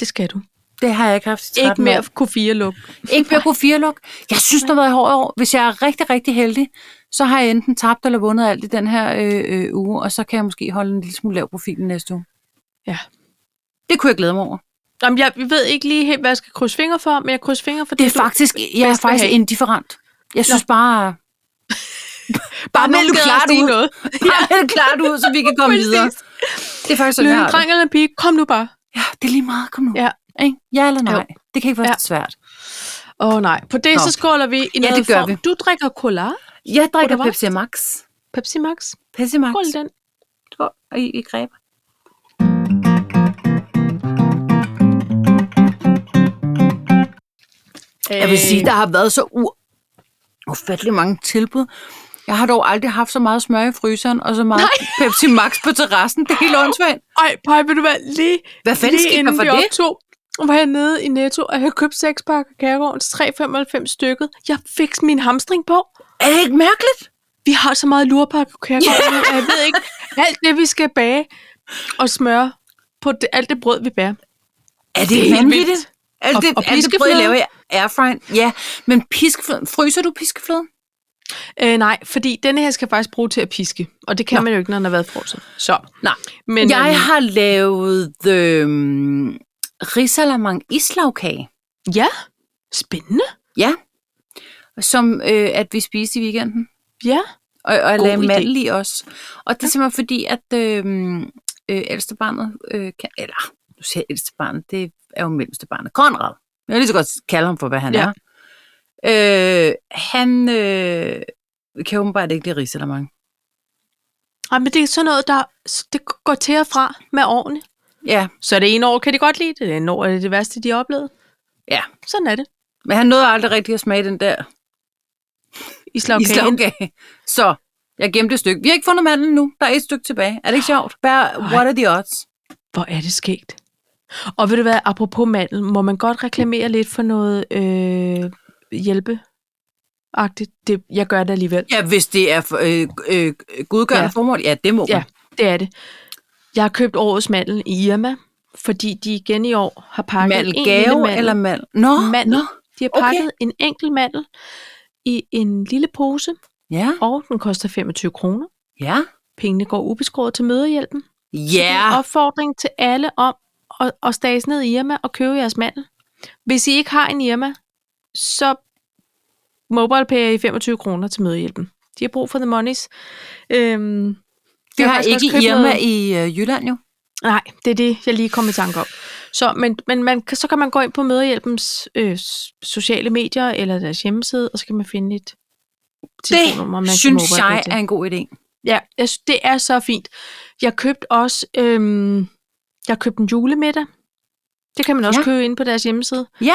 Speaker 2: det skal du.
Speaker 1: Det har jeg ikke haft i 13
Speaker 2: Ikke mere
Speaker 1: År.
Speaker 2: Q4 luk.
Speaker 1: Ikke mere kunne fireluk. Jeg synes, det har været et hårdt år. Hvis jeg er rigtig, rigtig heldig, så har jeg enten tabt eller vundet alt i den her øh, øh, uge, og så kan jeg måske holde en lille smule lav profil næste uge.
Speaker 2: Ja.
Speaker 1: Det kunne jeg glæde mig over.
Speaker 2: Jamen, jeg ved ikke lige helt, hvad jeg skal krydse fingre for, men jeg krydser fingre for
Speaker 1: Det er
Speaker 2: du-
Speaker 1: faktisk, jeg er
Speaker 2: bedst vil
Speaker 1: faktisk
Speaker 2: have.
Speaker 1: indifferent. Jeg synes <laughs> bare... bare
Speaker 2: nu
Speaker 1: meld det
Speaker 2: gad
Speaker 1: klart
Speaker 2: jeg sige
Speaker 1: ud.
Speaker 2: noget.
Speaker 1: Bare meld det klart ud, så vi kan <laughs> komme
Speaker 2: Præcis.
Speaker 1: videre. Det er faktisk sådan,
Speaker 2: Lykke,
Speaker 1: jeg
Speaker 2: en
Speaker 1: har
Speaker 2: dreng eller en pige, kom nu bare.
Speaker 1: det. Ja, det er lige meget. Kom nu.
Speaker 2: Ja.
Speaker 1: Ikke? Ja eller nej. Det kan ikke være
Speaker 2: Ja.
Speaker 1: så svært.
Speaker 2: Åh oh, nej, på det
Speaker 1: Nå.
Speaker 2: Nå. så skåler vi i
Speaker 1: Ja,
Speaker 2: noget
Speaker 1: det gør
Speaker 2: form.
Speaker 1: vi.
Speaker 2: Du drikker cola,
Speaker 1: Jeg drikker
Speaker 2: Ved du hvad?
Speaker 1: Pepsi Max.
Speaker 2: Pepsi Max,
Speaker 1: Pepsi Max.
Speaker 2: skål i den.
Speaker 1: Skål. Og I, I greb. Jeg vil
Speaker 2: Øh,
Speaker 1: sige, der har været så u- ufattelig mange tilbud. Jeg har dog aldrig haft så meget smør i fryseren og så meget Nej. Pepsi Max på terrassen. Det er helt åndssvagt.
Speaker 2: Ej, Paj, vil du være lige,
Speaker 1: Hvad fanden
Speaker 2: lige
Speaker 1: skete der
Speaker 2: inden
Speaker 1: for
Speaker 2: vi
Speaker 1: det?
Speaker 2: optog, var jeg nede i Netto, og jeg købte seks pakker kærgårdens 3,95 stykket. Jeg fik min hamstring på.
Speaker 1: Er det ikke mærkeligt?
Speaker 2: Vi har så meget lurpakke
Speaker 1: <laughs>
Speaker 2: kærgården, yeah. jeg ved ikke, alt det vi skal bage og smøre på det, alt det brød, vi
Speaker 1: Er
Speaker 2: bærer.
Speaker 1: det,
Speaker 2: Det er
Speaker 1: det
Speaker 2: helt
Speaker 1: vanvittigt?
Speaker 2: vildt.
Speaker 1: Er
Speaker 2: Og-
Speaker 1: det, er
Speaker 2: og
Speaker 1: det brød, I
Speaker 2: piskefløde?
Speaker 1: laver i airfryeren? Ja, men piskefløden, fryser du piskefløden?
Speaker 2: Øh, nej, fordi denne her skal jeg faktisk bruge til at piske, og det kan Nå. man jo ikke, når den har været frosset. Så.
Speaker 1: Nej.
Speaker 2: Men,
Speaker 1: Men, jeg
Speaker 2: øhm,
Speaker 1: har lavet øh, risalamang islagkage.
Speaker 2: Ja, spændende.
Speaker 1: Ja. som øh, at vi spiste i weekenden.
Speaker 2: Ja.
Speaker 1: Og, og jeg
Speaker 2: God
Speaker 1: lagde
Speaker 2: idé.
Speaker 1: mandel i også. Og det er simpelthen fordi, at øh, øh, ældstebarnet øh, kan... Eller, nu siger jeg ældstebarnet, det er jo mellemstebarnet. Konrad. Jeg kan lige så godt kalde ham for, hvad han
Speaker 2: Ja.
Speaker 1: ja. er. Øh, han øh, kan åbenbart ikke lide risalamande.
Speaker 2: Ej, men det er sådan noget, der det går til og fra med årene.
Speaker 1: Ja,
Speaker 2: Så det ene år kan de godt lide det, det andet år er det det værste, de har oplevet.
Speaker 1: ja.
Speaker 2: Sådan er det.
Speaker 1: Men han nåede aldrig rigtig at smage den der
Speaker 2: Islagkagen.
Speaker 1: islagkage. Så jeg gemte et stykke. Vi har ikke fundet mandlen nu. Der er et stykke tilbage. Er det ikke sjovt? Bare, what are the odds?
Speaker 2: Hvor er det skægt. Og ved du hvad, apropos mandel, må man godt reklamere lidt for noget øh, hjælpeagtigt? Det, jeg gør det alligevel.
Speaker 1: Ja, hvis det er for, øh, øh, godgørende
Speaker 2: Ja.
Speaker 1: ja. formål. Ja, det må
Speaker 2: Ja.
Speaker 1: man.
Speaker 2: Det er det. Jeg har købt årets mandel i Irma, fordi de igen i år har pakket
Speaker 1: Mandel
Speaker 2: en lille
Speaker 1: gave
Speaker 2: mandel.
Speaker 1: eller mandel? Mm. Nå,
Speaker 2: mandel.
Speaker 1: nå.
Speaker 2: De har
Speaker 1: okay.
Speaker 2: pakket en enkelt mandel i en lille pose,
Speaker 1: Ja,
Speaker 2: og den koster 25 kroner.
Speaker 1: ja.
Speaker 2: Pengene går ubeskåret til mødehjælpen. En
Speaker 1: Ja,
Speaker 2: opfordring til alle om at, at stages ned i Irma og købe jeres mandel. Hvis I ikke har en Irma, så MobilePay i 25 kroner til mødehjælpen. De har brug for the monies.
Speaker 1: det
Speaker 2: Øhm, jeg
Speaker 1: har
Speaker 2: faktisk
Speaker 1: ikke
Speaker 2: også købt
Speaker 1: Irma
Speaker 2: noget-
Speaker 1: i øh, Jylland jo.
Speaker 2: Nej, det er det, jeg lige kom i tanke om. Så, men, men man, kan- så kan man gå ind på Møderhjælpens øh, s- sociale medier eller deres hjemmeside, og så kan man finde et telefonnummer, man kan
Speaker 1: Det synes
Speaker 2: mobile
Speaker 1: jeg
Speaker 2: til.
Speaker 1: er en god idé.
Speaker 2: Ja, jeg synes, det er så fint. Jeg købte også øhm, jeg købte en julemiddag. Det kan man også ja.
Speaker 1: Ja.
Speaker 2: købe ind på deres hjemmeside
Speaker 1: Ja,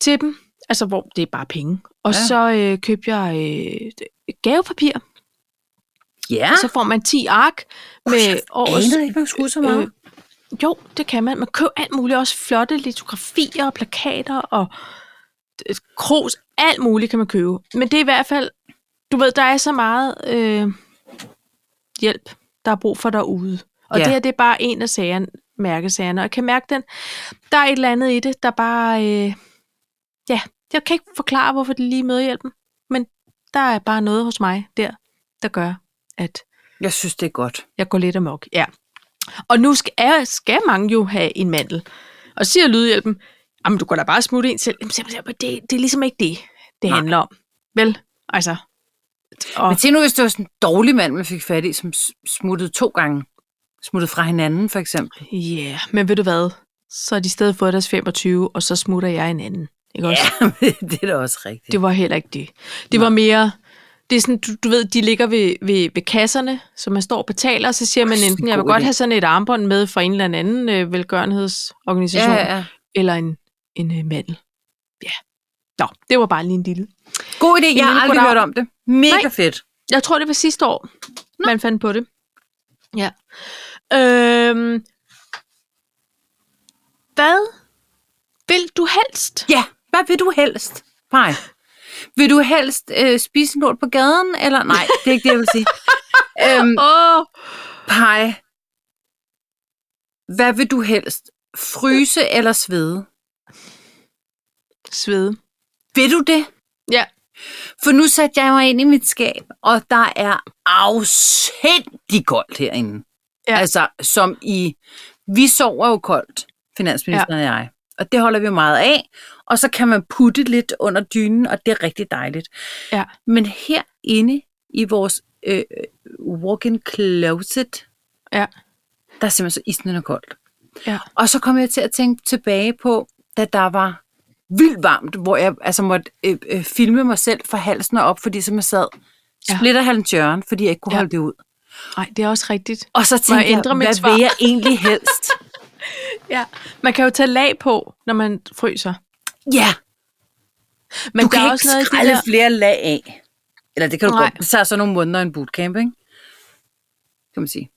Speaker 2: til dem. Altså, hvor det er bare penge. Og ja.
Speaker 1: Ja.
Speaker 2: så øh, købte jeg øh, gavepapir, ja.
Speaker 1: ja.
Speaker 2: og så får man 10 ark med årets
Speaker 1: ikke, man skulle så
Speaker 2: Øh, jo, det kan man. Man køber alt muligt, også flotte litografier og plakater og øh, kros, alt muligt kan man købe. Men det er i hvert fald, du ved, der er så meget øh, hjælp, der er brug for derude. Og
Speaker 1: Ja.
Speaker 2: det her, det er bare en af sagerne, mærkesagerne. Og jeg kan mærke den, der er et eller andet i det, der bare, øh, ja, jeg kan ikke forklare, hvorfor det lige møder hjælpen. Men der er bare noget hos mig der, der gør, at
Speaker 1: Jeg synes, det er godt.
Speaker 2: jeg går lidt amok, ja. Og nu skal, er, skal mange jo have en mandel. Og siger lydhjælpen, jamen du kan da bare smutte en selv. Jamen, se- se- det, det er ligesom ikke det, det
Speaker 1: Nej.
Speaker 2: handler om. Vel? Altså. Og,
Speaker 1: Men se nu, hvis det var sådan en dårlig mand, man fik fat i, som s- smuttede to gange. Smuttede fra hinanden, for eksempel.
Speaker 2: yeah. men ved du hvad? Så har de i stedet fået deres 25, og så smutter jeg en anden. Ikke også?
Speaker 1: Ja, men <laughs> det er da også rigtigt.
Speaker 2: Det var heller ikke det. Det var mere... Det er sådan, du, du ved, de ligger ved, ved, ved kasserne, så man står og betaler, og så siger man
Speaker 1: Ej,
Speaker 2: enten,
Speaker 1: en
Speaker 2: jeg vil
Speaker 1: god
Speaker 2: godt
Speaker 1: idé."
Speaker 2: have sådan et armbånd med fra en eller anden øh, velgørenhedsorganisation.
Speaker 1: ja, ja, ja.
Speaker 2: eller en, en øh, mandel. Ja. Nå, det var bare lige en lille.
Speaker 1: God idé, jeg har
Speaker 2: lille
Speaker 1: aldrig
Speaker 2: goddag.
Speaker 1: hørt om det. Mega
Speaker 2: Nej.
Speaker 1: fedt.
Speaker 2: Jeg tror, det var sidste år, Nå. man fandt på det. Ja. Øhm, hvad vil du helst?
Speaker 1: Ja, hvad vil du helst? Nej. Vil du helst øh, spise en lort på gaden, eller nej, det er ikke det, jeg vil sige. øhm,
Speaker 2: Åh, oh,
Speaker 1: pej. Hvad vil du helst? Fryse eller svede?
Speaker 2: svede.
Speaker 1: Vil du det?
Speaker 2: Ja.
Speaker 1: For nu satte jeg mig ind i mit skab, og der er afsindig koldt herinde.
Speaker 2: Ja.
Speaker 1: Altså, som i... Vi sover jo koldt, finansministeren ja. og jeg. Og det holder vi jo meget af. Og så kan man putte lidt under dynen, og det er rigtig dejligt.
Speaker 2: Ja.
Speaker 1: Men herinde i vores øh, walk-in closet,
Speaker 2: Ja.
Speaker 1: der er simpelthen så isnende koldt.
Speaker 2: Ja.
Speaker 1: Og så kom jeg til at tænke tilbage på, da der var vildt varmt, hvor jeg altså måtte øh, øh, filme mig selv fra halsen og op, fordi som jeg sad
Speaker 2: Ja.
Speaker 1: splitter halvtjøren, fordi jeg ikke kunne
Speaker 2: Ja.
Speaker 1: ja. holde det ud.
Speaker 2: Nej, det er også rigtigt.
Speaker 1: Og så
Speaker 2: jeg
Speaker 1: tænkte jeg,
Speaker 2: ændre mit
Speaker 1: hvad
Speaker 2: svar?
Speaker 1: vil jeg egentlig helst?
Speaker 2: Ja. Man kan jo tage lag på, når man fryser.
Speaker 1: <laughs> ja,
Speaker 2: Men
Speaker 1: du
Speaker 2: der er
Speaker 1: kan ikke
Speaker 2: også noget i
Speaker 1: skralde
Speaker 2: det der...
Speaker 1: flere lag af. Eller det kan du
Speaker 2: Nej.
Speaker 1: godt. Det tager så nogle måneder i en bootcamp, ikke? Kan man sige.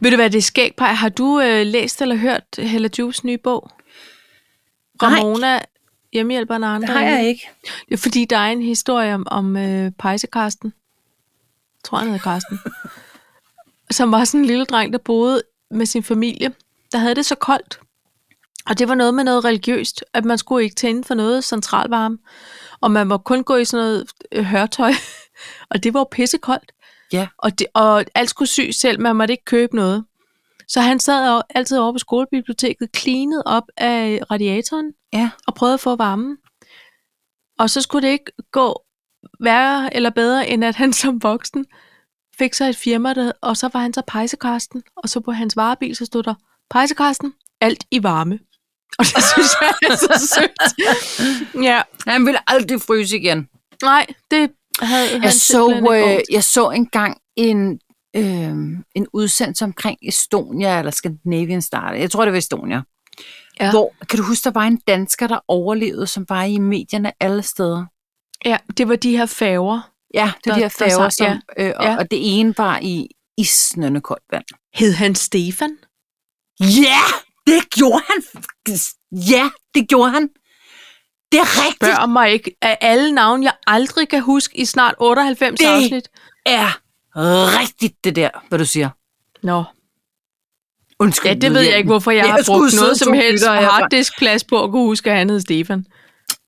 Speaker 2: Ved du hvad, det er skægt, Paj. Har du øh, læst eller hørt Hella Juves nye bog?
Speaker 1: Nej.
Speaker 2: Ramona, hjemmehjælperen og andre.
Speaker 1: Det har jeg ikke.
Speaker 2: Det er fordi, der er en historie om, om øh, pejsekarsten. Jeg tror, han hedder
Speaker 1: <laughs>
Speaker 2: Karsten. som var sådan en lille dreng, der boede med sin familie. Der havde det så koldt. Og det var noget med noget religiøst, at man skulle ikke tænde for noget centralvarme. Og man må kun gå i sådan noget øh, hørtøj. <laughs> og det var jo pissekoldt.
Speaker 1: Ja.
Speaker 2: Og, det, og alt skulle sy selv, man måtte ikke købe noget. Så han sad jo altid over på skolebiblioteket, cleanet op af radiatoren
Speaker 1: Ja.
Speaker 2: og prøvede at få varmen. Og så skulle det ikke gå værre eller bedre, end at han <laughs> som voksen fik sig et firma, der, og så var han så pejsekarsten, og så på hans varebil, så stod der, pejsekarsten, alt i varme. <laughs> Og det synes jeg er så sødt. Ja,
Speaker 1: Han vil aldrig fryse igen.
Speaker 2: nej, det havde han
Speaker 1: Jeg så,
Speaker 2: simpelthen ikke
Speaker 1: øh,
Speaker 2: råd til.
Speaker 1: jeg så engang en, øh, en udsendelse omkring Estonia, eller Scandinavian Star. Jeg tror, det var Estonia.
Speaker 2: Ja.
Speaker 1: Ja. Hvor, kan du huske, der var en dansker, der overlevede, som var i medierne alle steder?
Speaker 2: Ja, det var de her færger.
Speaker 1: Ja, det er de
Speaker 2: Der-
Speaker 1: her
Speaker 2: der
Speaker 1: færger,
Speaker 2: sang-
Speaker 1: som, ja. øh, og,
Speaker 2: ja.
Speaker 1: ja. og det ene var i isnende koldt vand.
Speaker 2: Hed han Stefan?
Speaker 1: Ja, det gjorde han. Ja, det gjorde han. Det er rigtigt.
Speaker 2: Spørg mig ikke af alle navne, jeg aldrig kan huske i snart 98
Speaker 1: Det-
Speaker 2: afsnit.
Speaker 1: er rigtigt, det der, hvad du siger.
Speaker 2: Nå,
Speaker 1: Undskyld.
Speaker 2: ja, det ved jeg ikke, hvorfor jeg,
Speaker 1: Jeg
Speaker 2: har
Speaker 1: skulle
Speaker 2: brugt
Speaker 1: sidde
Speaker 2: noget
Speaker 1: to
Speaker 2: som helst
Speaker 1: lyttere herfra.
Speaker 2: harddiskplads på at kunne huske, at han hed Stefan.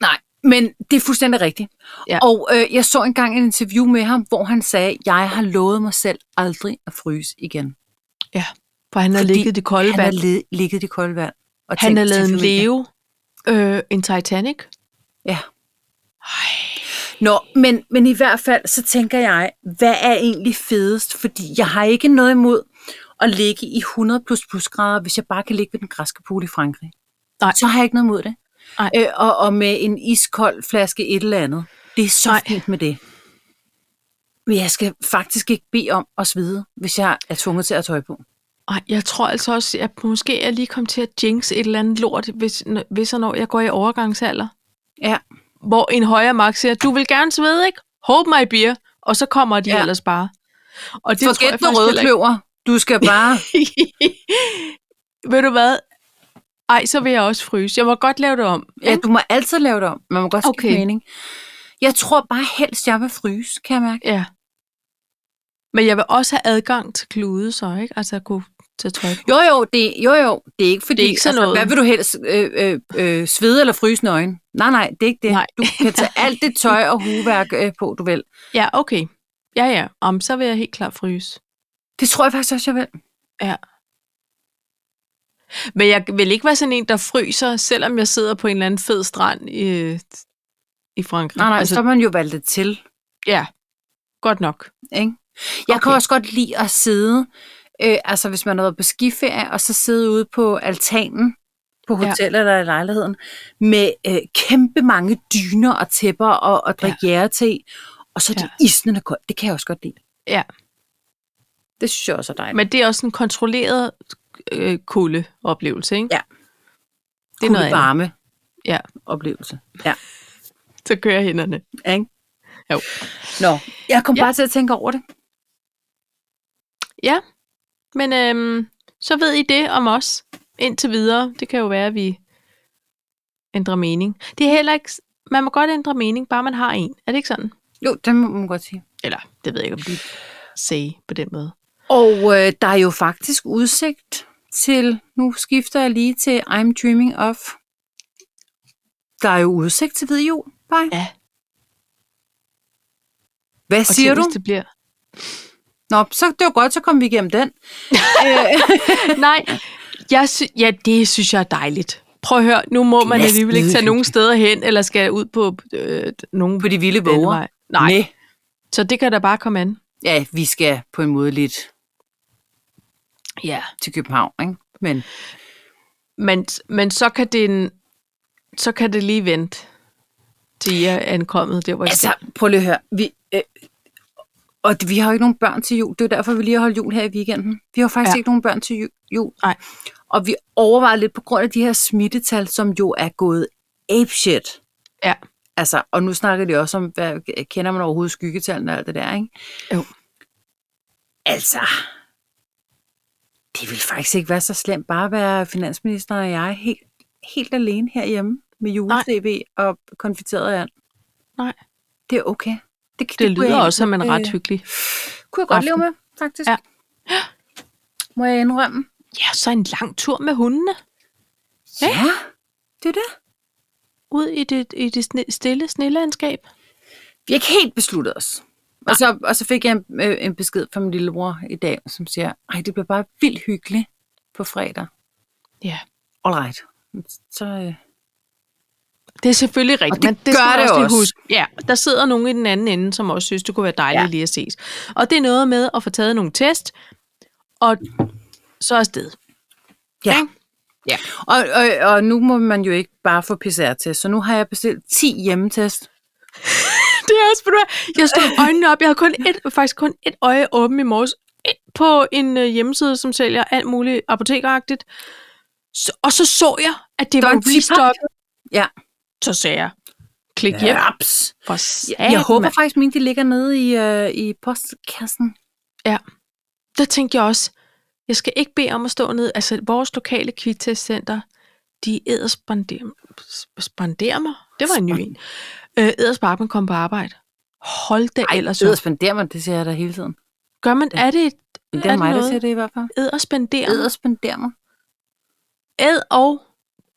Speaker 1: Nej, men det er fuldstændig rigtigt.
Speaker 2: Ja.
Speaker 1: Ja. Og øh, jeg så engang et interview med ham, hvor han sagde, jeg har lovet mig selv aldrig at fryse igen.
Speaker 2: For han har
Speaker 1: Fordi
Speaker 2: ligget i det kolde
Speaker 1: Han har
Speaker 2: vand.
Speaker 1: le- ligget i det kolde vand. Og
Speaker 2: Han
Speaker 1: tænkt
Speaker 2: har
Speaker 1: til
Speaker 2: lavet en
Speaker 1: familien.
Speaker 2: leve, øh, en Titanic.
Speaker 1: Ja.
Speaker 2: Ej.
Speaker 1: Nå, men, men i hvert fald, så tænker jeg, hvad er egentlig fedest? Fordi jeg har ikke noget imod at ligge i 100 plus plus grader, hvis jeg bare kan ligge ved den græske pool i Frankrig.
Speaker 2: Nej.
Speaker 1: Så har jeg ikke noget imod det.
Speaker 2: Nej.
Speaker 1: Øh, og, og med en iskold flaske et eller andet. Det er så
Speaker 2: Nej.
Speaker 1: Nej. fint med det. Men jeg skal faktisk ikke bede om at svide, hvis jeg er tvunget til at have tøj på.
Speaker 2: Ej, jeg tror altså også, at måske jeg lige kom til at jinx et eller andet lort, hvis, n- hvis og når jeg går i overgangsalder.
Speaker 1: Ja.
Speaker 2: Hvor en højere magt siger, du vil gerne svede, ikke? Hold mig beer. Og så kommer de ja.
Speaker 1: Ja.
Speaker 2: ellers bare. Og det
Speaker 1: Forget
Speaker 2: tror
Speaker 1: den
Speaker 2: jeg
Speaker 1: røde kløver. Du skal bare...
Speaker 2: <laughs> Ved du hvad? Ej, så vil jeg også fryse. Jeg må godt lave det om.
Speaker 1: ja,
Speaker 2: ikke?
Speaker 1: du må altid lave det om. Man må godt skifte
Speaker 2: Okay.
Speaker 1: okay. mening. Jeg tror bare helst, jeg vil fryse, kan jeg mærke.
Speaker 2: Ja. Men jeg vil også have adgang til klude, så ikke? Altså at kunne tage tøj på.
Speaker 1: Jo, jo, det, jo, jo, det er ikke fordi... altså,
Speaker 2: Det er ikke sådan noget.
Speaker 1: Hvad vil du helst? Øh, øh, øh, svede eller fryse nøgen? Nej, nej, det er ikke det.
Speaker 2: Nej.
Speaker 1: Du kan tage alt det tøj og hugeværk øh, på, du vil.
Speaker 2: <laughs> Ja, okay. Ja, ja. Om, så vil jeg helt klart fryse.
Speaker 1: Det tror jeg faktisk også, jeg vil.
Speaker 2: Men jeg vil ikke være sådan en, der fryser, selvom jeg sidder på en eller anden fed strand i, i Frankrig.
Speaker 1: Nej, nej, altså, så har man jo valgt det til.
Speaker 2: Ja, godt nok.
Speaker 1: Ikke? Jeg okay. kan
Speaker 2: Okay.
Speaker 1: også godt lide at sidde, øh, altså hvis man har været på skiferie, og så sidde ude på altanen på
Speaker 2: Ja.
Speaker 1: hotellet ja. eller i lejligheden, med øh, kæmpe mange dyner og tæpper og, og drikke ja. til, og så er det ja. isnende koldt. Det kan jeg også godt lide.
Speaker 2: Ja.
Speaker 1: Det synes jeg også er dejligt.
Speaker 2: Men det er også en kontrolleret øh, kulde oplevelse, ikke?
Speaker 1: Ja.
Speaker 2: Det er noget andet.
Speaker 1: varme
Speaker 2: Ja,
Speaker 1: oplevelse. Ja.
Speaker 2: så kører hænderne.
Speaker 1: Ikke?
Speaker 2: Jo.
Speaker 1: Nå, jeg kom
Speaker 2: Ja.
Speaker 1: ja. bare til at tænke over det.
Speaker 2: Ja, men øhm, så ved I det om os indtil videre. Det kan jo være, at vi ændrer mening. Det er heller ikke... Man må godt ændre mening, bare man har en. Er det ikke sådan?
Speaker 1: Jo, det må man godt sige.
Speaker 2: Eller, det ved jeg ikke, om de sagde på den måde.
Speaker 1: Og øh, der er jo faktisk udsigt til, nu skifter jeg lige til I'm Dreaming Of. Der er jo udsigt til hvid jul, bare.
Speaker 2: Ja.
Speaker 1: Hvad
Speaker 2: Og
Speaker 1: siger
Speaker 2: tænk,
Speaker 1: du?
Speaker 2: hvis Det bliver...
Speaker 1: Nå, så det var godt, så kom vi igennem den.
Speaker 2: <laughs>
Speaker 1: Øh,
Speaker 2: Nej, jeg sy- ja, det synes jeg er dejligt. Prøv at høre, nu må man
Speaker 1: Næsten
Speaker 2: alligevel ikke tage
Speaker 1: hyggeligt.
Speaker 2: nogen steder hen, eller skal ud på øh, nogen
Speaker 1: På de vilde våger.
Speaker 2: landevej. Nej, Nej, så det kan da bare komme an.
Speaker 1: Ja, vi skal på en måde lidt
Speaker 2: Ja.
Speaker 1: til København, ikke? Men
Speaker 2: Men, men så, kan det en, så kan det lige vente, til I er ankommet der, hvor I
Speaker 1: Altså,
Speaker 2: skal.
Speaker 1: prøv lige at høre. Vi, øh, og vi har jo ikke nogen børn til jul. Det er jo derfor, vi lige har holdt jul her i weekenden. Vi har faktisk
Speaker 2: Ja.
Speaker 1: ja. ikke nogen børn til ju- jul.
Speaker 2: Nej.
Speaker 1: Og vi overvejer lidt på grund af de her smittetal, som jo er gået apeshit.
Speaker 2: Ja.
Speaker 1: Altså, og nu snakker de også om, hvad kender man overhovedet skyggetallene og alt det der, ikke?
Speaker 2: Jo.
Speaker 1: Altså, det vil faktisk ikke være så slemt bare at være finansminister og jeg helt, helt alene herhjemme med jule-tv og konfiteret and.
Speaker 2: Nej.
Speaker 1: Det er okay. Det,
Speaker 2: Det
Speaker 1: kunne jeg
Speaker 2: lyder også som en
Speaker 1: øh,
Speaker 2: ret hyggelig.
Speaker 1: Kunne jeg godt
Speaker 2: aften.
Speaker 1: leve med, faktisk.
Speaker 2: Ja.
Speaker 1: Må jeg indrømme?
Speaker 2: Ja, så en lang tur med hundene Ja.
Speaker 1: det er det.
Speaker 2: ud i det, i det sne, stille snelandskab.
Speaker 1: Vi har ikke helt besluttet os. Og så, og så fik jeg en, øh, en besked fra min lillebror i dag, som siger, ej, det bliver bare vildt hyggeligt på fredag.
Speaker 2: Ja,
Speaker 1: All right. Så, øh,
Speaker 2: Det er selvfølgelig rigtigt.
Speaker 1: det gør
Speaker 2: skal man
Speaker 1: det
Speaker 2: lige
Speaker 1: også.
Speaker 2: Huske. Ja, der sidder nogen i den anden ende, som også synes, det kunne være dejligt ja.
Speaker 1: Ja.
Speaker 2: lige at ses. Og det er noget med at få taget nogle test, og så afsted. <laughs>
Speaker 1: Ja.
Speaker 2: Ikke? Ja.
Speaker 1: Og, og, og nu må man jo ikke bare få PCR-test, så nu har jeg bestilt 10 hjemmetest.
Speaker 2: Det er også, ved du hvad, jeg stod øjnene op. Jeg havde kun et, faktisk kun et øje åbent i morges ind på en øh, hjemmeside, som sælger alt muligt apotekeragtigt. Så, og så så jeg, at det
Speaker 1: Der var
Speaker 2: var en
Speaker 1: en Tea
Speaker 2: restock.
Speaker 1: Ja.
Speaker 2: Så sagde jeg, klik hjem.
Speaker 1: Ups.
Speaker 2: For
Speaker 1: Jeg,
Speaker 2: satan,
Speaker 1: jeg håber
Speaker 2: mand.
Speaker 1: faktisk, mine de ligger nede i, øh, i postkassen.
Speaker 2: Der tænkte jeg også, jeg skal ikke bede om at stå ned. Altså, vores lokale kvittestcenter, de æderspanderer spanderer mig. Det var en ny en. Øh, ædersparer, man kom på arbejde. Hold da ellers.
Speaker 1: så
Speaker 2: op.
Speaker 1: spenderer man, det ser jeg da hele tiden.
Speaker 2: Gør man, er det, et-
Speaker 1: Men
Speaker 2: er
Speaker 1: det er,
Speaker 2: det
Speaker 1: mig, der
Speaker 2: noget?
Speaker 1: siger det i hvert fald.
Speaker 2: Æderspanderer mig?
Speaker 1: Æder spenderer mig.
Speaker 2: Æd og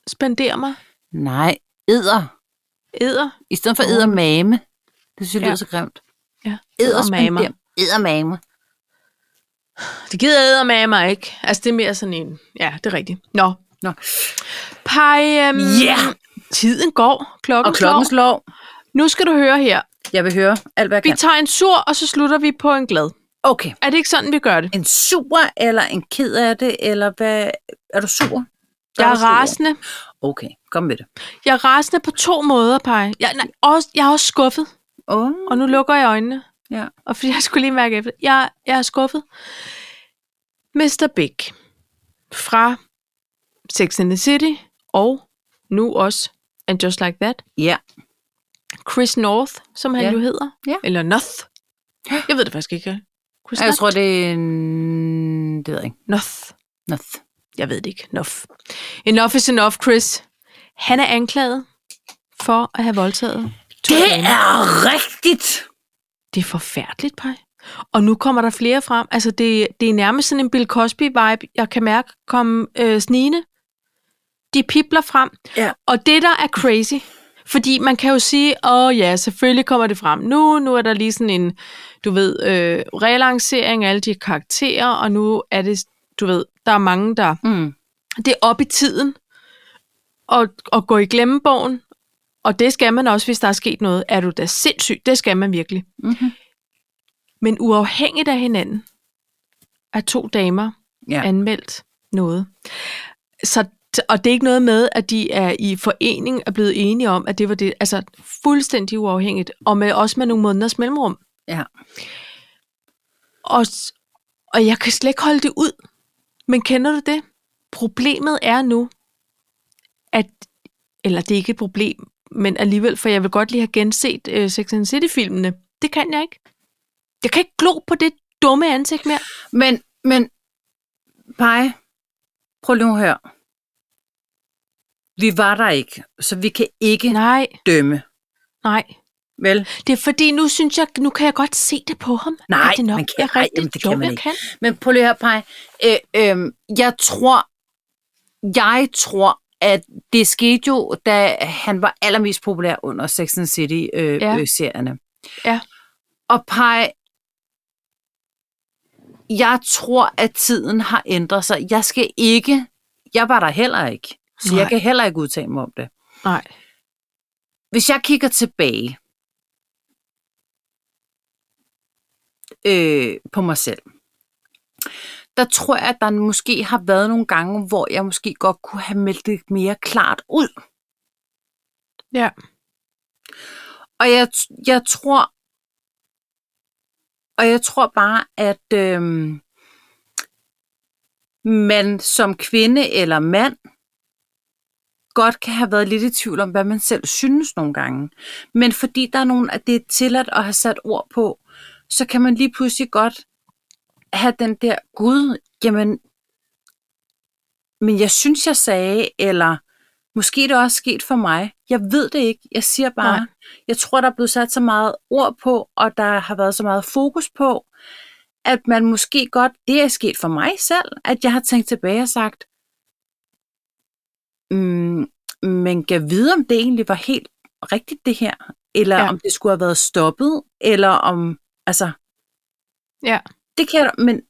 Speaker 2: spender mig.
Speaker 1: Nej, æder.
Speaker 2: Æder.
Speaker 1: I stedet for
Speaker 2: Åh.
Speaker 1: æder mame. Det synes jeg
Speaker 2: Ja.
Speaker 1: lyder så grimt.
Speaker 2: Ja.
Speaker 1: Æder
Speaker 2: Eddermamer.
Speaker 1: spenderer. Æder mame.
Speaker 2: Det gider æder med mig ikke. Altså, det er mere sådan en... Ja, det er rigtigt. Nå.
Speaker 1: Nå.
Speaker 2: Pej, øhm,
Speaker 1: Ja!
Speaker 2: tiden går. Klokken,
Speaker 1: Og klokken
Speaker 2: slår.
Speaker 1: slår.
Speaker 2: Nu skal du høre her.
Speaker 1: Jeg vil høre alt, hvad jeg
Speaker 2: Vi
Speaker 1: kan.
Speaker 2: tager en sur, og så slutter vi på en glad.
Speaker 1: Okay.
Speaker 2: Er det ikke sådan, vi gør det?
Speaker 1: En sur, eller en ked af det, eller hvad? Er du sur? Der
Speaker 2: Jeg
Speaker 1: du
Speaker 2: er
Speaker 1: sur.
Speaker 2: rasende.
Speaker 1: Okay, kom med det.
Speaker 2: Jeg er rasende på to måder, Pej. Jeg, nej, også, jeg er også skuffet.
Speaker 1: Oh.
Speaker 2: Og nu lukker jeg øjnene.
Speaker 1: Ja.
Speaker 2: Og fordi jeg skulle lige mærke efter. Jeg, jeg er skuffet. Mr. Big fra Sex and the City og nu også And Just Like That.
Speaker 1: Ja.
Speaker 2: Chris North, som han
Speaker 1: Ja.
Speaker 2: jo hedder.
Speaker 1: Ja.
Speaker 2: Eller North. Jeg ved det faktisk ikke. Chris
Speaker 1: Jeg
Speaker 2: North?
Speaker 1: tror, det er en... Det ved jeg ikke.
Speaker 2: North.
Speaker 1: Noth.
Speaker 2: Jeg ved det ikke. Enough. Enough is enough, Chris. Han er anklaget for at have voldtaget to damer.
Speaker 1: er rigtigt!
Speaker 2: Det er forfærdeligt, Paj. Og nu kommer der flere frem. Altså, det, det er nærmest sådan en Bill Cosby-vibe, jeg kan mærke komme øh, snigende. De pipler frem.
Speaker 1: Ja.
Speaker 2: Og det, der er crazy, fordi man kan jo sige, åh ja, selvfølgelig kommer det frem nu, nu er der lige sådan en, du ved, øh, relancering af alle de karakterer, og nu er det, du ved, der er mange, der
Speaker 1: Mm.
Speaker 2: det er op i tiden og, og gå i glemmebogen. Og det skal man også, hvis der er sket noget. Er du da sindssyg? Det skal man virkelig.
Speaker 1: Mhm.
Speaker 2: Men uafhængigt af hinanden er to damer
Speaker 1: Ja.
Speaker 2: anmeldt noget. Så, og det er ikke noget med, at de er i forening er blevet enige om, at det var det, altså fuldstændig uafhængigt, og med, også med nogle måneders mellemrum.
Speaker 1: Ja.
Speaker 2: Og, s- og jeg kan slet ikke holde det ud. Men kender du det? Problemet er nu, at, eller det er ikke et problem, men alligevel, for jeg vil godt lige have genset øh, Sex and the City-filmene. Det kan jeg ikke. Jeg kan ikke glo på det dumme ansigt mere.
Speaker 1: Men, men, Paj, prøv lige at høre. Vi var der ikke, så vi kan ikke Nej.
Speaker 2: Nej,
Speaker 1: dømme.
Speaker 2: nej.
Speaker 1: Vel?
Speaker 2: Det er fordi, nu synes jeg, nu kan jeg godt se det på ham.
Speaker 1: Nej,
Speaker 2: at det nok
Speaker 1: man kan-
Speaker 2: er
Speaker 1: nej,
Speaker 2: rigtigt.
Speaker 1: jamen, det kan
Speaker 2: jo,
Speaker 1: man
Speaker 2: jeg
Speaker 1: ikke.
Speaker 2: Kan.
Speaker 1: Men prøv lige at høre, Paj. Øh, øh, jeg tror, jeg tror, at det skete jo, da han var allermest populær under Sex and the City-serierne. Øh,
Speaker 2: Ja.
Speaker 1: ja. øh, serierne.
Speaker 2: Ja.
Speaker 1: Og Paj, jeg tror, at tiden har ændret sig. Jeg skal ikke, jeg var der heller ikke, så Nej.
Speaker 2: Nej.
Speaker 1: jeg kan heller ikke udtale mig om det.
Speaker 2: Nej.
Speaker 1: Hvis jeg kigger tilbage øh, på mig selv, der tror jeg, at der måske har været nogle gange, hvor jeg måske godt kunne have meldt det mere klart ud.
Speaker 2: Ja.
Speaker 1: Og jeg, t- jeg tror, og jeg tror bare, at øhm, man som kvinde eller mand godt kan have været lidt i tvivl om, hvad man selv synes nogle gange. Men fordi der er nogen, at det er tilladt at have sat ord på, så kan man lige pludselig godt have den der, gud, jamen, men jeg synes, jeg sagde, eller måske er det også sket for mig. Jeg ved det ikke. Jeg siger bare,
Speaker 2: Nej.
Speaker 1: Nej. jeg tror, der er blevet sat så meget ord på, og der har været så meget fokus på, at man måske godt, det er sket for mig selv, at jeg har tænkt tilbage og sagt, mm, men kan vide, om det egentlig var helt rigtigt det her, eller
Speaker 2: Ja.
Speaker 1: ja. om det skulle have været stoppet, eller om, altså,
Speaker 2: Ja.
Speaker 1: det kan jeg, da- men,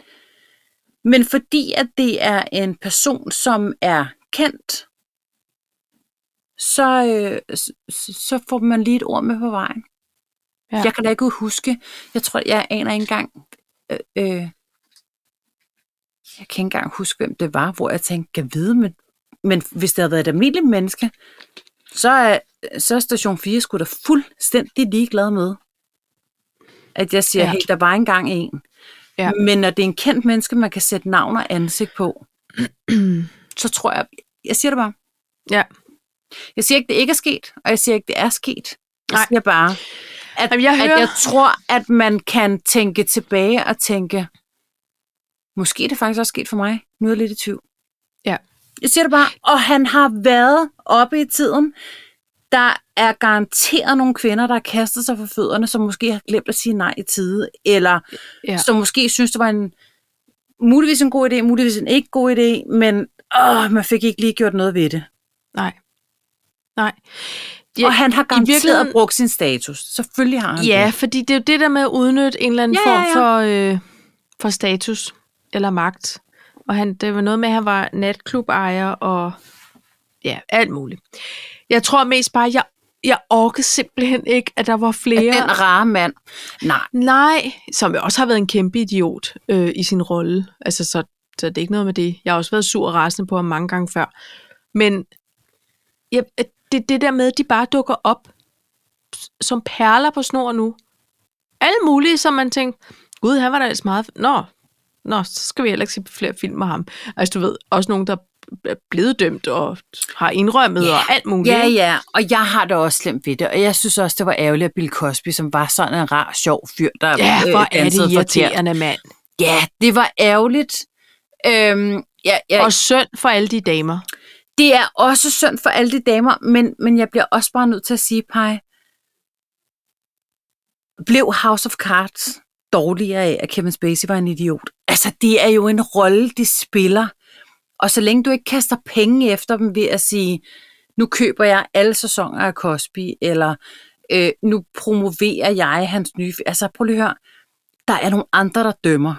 Speaker 1: men fordi at det er en person, som er kendt, så, øh, s- s- så får man lige et ord med på vejen.
Speaker 2: Ja.
Speaker 1: Ja. Jeg kan da ikke huske, jeg tror, jeg aner ikke engang, øh, øh, jeg kan ikke engang huske, hvem det var, hvor jeg tænkte, kan vide, men, men hvis det havde været et almindeligt menneske, så er, så er station 4 sgu da fuldstændig ligeglad med, at jeg siger,
Speaker 2: Ja.
Speaker 1: ja. hey, der var engang en.
Speaker 2: Ja.
Speaker 1: Ja. Men når det er en kendt menneske, man kan sætte navn og ansigt på, <clears throat> så tror jeg, jeg siger det bare.
Speaker 2: Ja.
Speaker 1: Jeg siger ikke, det ikke er sket, og jeg siger ikke, det er sket. Jeg
Speaker 2: Nej.
Speaker 1: Nej. siger bare, at,
Speaker 2: Jamen, jeg
Speaker 1: at
Speaker 2: hører-
Speaker 1: jeg tror, at man kan tænke tilbage og tænke, måske er det faktisk også sket for mig. Nu er jeg lidt i tvivl.
Speaker 2: Ja.
Speaker 1: Jeg siger det bare, og han har været oppe i tiden. Der er garanteret nogle kvinder, der har kastet sig for fødderne, som måske har glemt at sige nej i tide, eller
Speaker 2: Ja.
Speaker 1: ja. som måske synes, det var en muligvis en god idé, muligvis en ikke god idé, men åh, man fik ikke lige gjort noget ved det.
Speaker 2: Nej. Nej.
Speaker 1: Ja, og han har garanteret
Speaker 2: virkeligheden-
Speaker 1: virkeligheden... brugt sin status. Selvfølgelig har han
Speaker 2: Ja,
Speaker 1: det.
Speaker 2: fordi det er jo det der med at udnytte en eller anden ja,
Speaker 1: Ja,
Speaker 2: form
Speaker 1: ja,
Speaker 2: ja, ja. for, øh, for status eller magt. Og han, det var noget med, at han var natklubejer og ja, alt muligt. Jeg tror mest bare, at jeg, jeg orkede simpelthen ikke, at der var flere.
Speaker 1: Den rare mand. Nej,
Speaker 2: Nej, som jo også har været en kæmpe idiot øh, i sin rolle. Altså, så, så det er ikke noget med det. Jeg har også været sur og rasende på ham mange gange før. Men ja, at det, det der med, at de bare dukker op s- som perler på snor nu. Alle mulige, som man tænker, gud, han var da ellers meget... Nå, nå, så skal vi heller ikke se flere film med ham. Altså, du ved, også nogen, der er blevet dømt og har indrømmet
Speaker 1: Ja.
Speaker 2: og alt muligt.
Speaker 1: Ja,
Speaker 2: ikke?
Speaker 1: ja, og jeg har det også slemt ved det, og jeg synes også, det var ærgerligt, at Bill Cosby, som var sådan en rar, sjov fyr, der øh,
Speaker 2: ja hvor er
Speaker 1: dansede
Speaker 2: det
Speaker 1: forkert.
Speaker 2: irriterende, mand.
Speaker 1: Ja, det var ærgerligt. Øhm, ja, ja,
Speaker 2: Og synd for alle de damer.
Speaker 1: det er også synd for alle de damer, men, men jeg bliver også bare nødt til at sige, Paj, blev House of Cards dårligere af, at Kevin Spacey var en idiot? Altså, det er jo en rolle, de spiller. Og så længe du ikke kaster penge efter dem ved at sige, nu køber jeg alle sæsoner af Cosby, eller øh, nu promoverer jeg hans nye... fi-" Altså, prøv lige at høre. Der er nogle andre, der dømmer.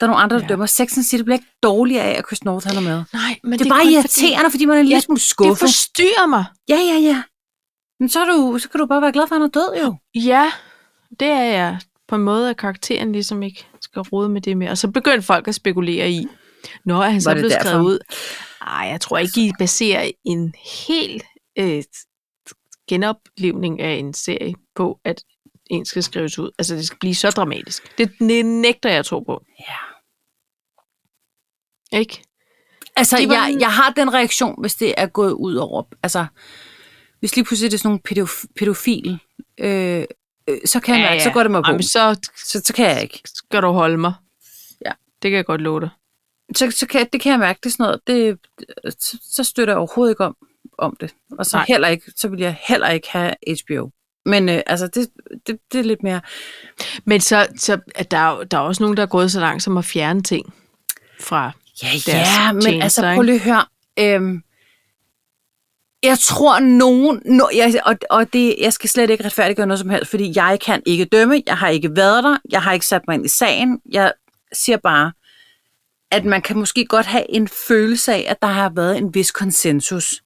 Speaker 1: Der er nogle andre, der
Speaker 2: Ja.
Speaker 1: ja. dømmer. Sex and City bliver ikke dårligere af, at Chris North han er med.
Speaker 2: Nej, men
Speaker 1: Det er bare
Speaker 2: kun
Speaker 1: irriterende, fordi man er en lille
Speaker 2: Ja,
Speaker 1: smule
Speaker 2: Fordi, det
Speaker 1: skuffet.
Speaker 2: forstyrrer mig.
Speaker 1: Ja, ja, ja. Men så, er du, så kan du bare være glad for, at han er død jo.
Speaker 2: Ja, det er jeg på en måde, at karakteren ligesom ikke skal rode med det mere. Og så begyndte folk at spekulere i, når han så
Speaker 1: Var det
Speaker 2: blev
Speaker 1: derfor?
Speaker 2: skrevet ud. Nej, jeg tror ikke, I baserer en hel øh, genoplevning af en serie på, at en skal skrives ud. Altså, det skal blive så dramatisk. Det det nægter jeg at tro på.
Speaker 1: Ja.
Speaker 2: Ikke?
Speaker 1: Altså,
Speaker 2: Det var
Speaker 1: jeg,
Speaker 2: en-
Speaker 1: jeg har den reaktion, hvis det er gået ud over... Altså, hvis lige pludselig det er sådan nogle pædof- pædofil, øh, øh, så kan jeg mærke, så går det mig på.
Speaker 2: Jamen, så
Speaker 1: Så, så kan jeg ikke.
Speaker 2: skal du holde mig.
Speaker 1: Ja.
Speaker 2: Det kan jeg godt love dig.
Speaker 1: Så, så kan, det kan jeg mærke, det er sådan noget, det, så, så støtter jeg overhovedet ikke om, om det. Og så
Speaker 2: Nej.
Speaker 1: Nej. heller ikke, så vil jeg heller ikke have HBO. Men øh, altså, det, det, det er lidt mere...
Speaker 2: Men så, så er der, jo- der er også nogen, der er gået så langt som at fjerne ting fra...
Speaker 1: Ja,
Speaker 2: deres
Speaker 1: ja, men
Speaker 2: tjenester,
Speaker 1: altså
Speaker 2: ikke?
Speaker 1: prøv lige at høre. Øhm, jeg tror nogen, no, jeg, og, og det, jeg skal slet ikke retfærdiggøre noget som helst, fordi jeg kan ikke dømme, jeg har ikke været der, jeg har ikke sat mig ind i sagen, jeg siger bare, at man kan måske godt have en følelse af, at der har været en vis konsensus.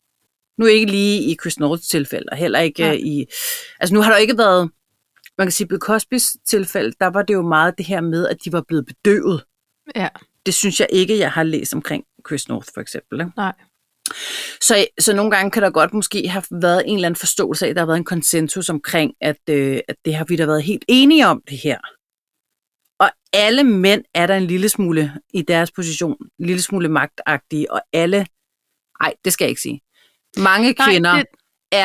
Speaker 1: Nu ikke lige i Chris Norths tilfælde, og heller ikke
Speaker 2: Nej.
Speaker 1: øh, i... Altså nu har der jo ikke været... Man kan sige, at Bill Cosby's tilfælde, der var det jo meget det her med, at de var blevet bedøvet
Speaker 2: Ja,
Speaker 1: det synes jeg ikke, jeg har læst omkring Chris North, for eksempel. Ikke?
Speaker 2: nej.
Speaker 1: Så, så nogle gange kan der godt måske have været en eller anden forståelse af, at der har været en konsensus omkring, at, øh, at det har vi da været helt enige om det her. Og alle mænd er der en lille smule i deres position, en lille smule magtagtige, og alle, nej, det skal jeg ikke sige. Mange
Speaker 2: Nej,
Speaker 1: kvinder
Speaker 2: det-
Speaker 1: det...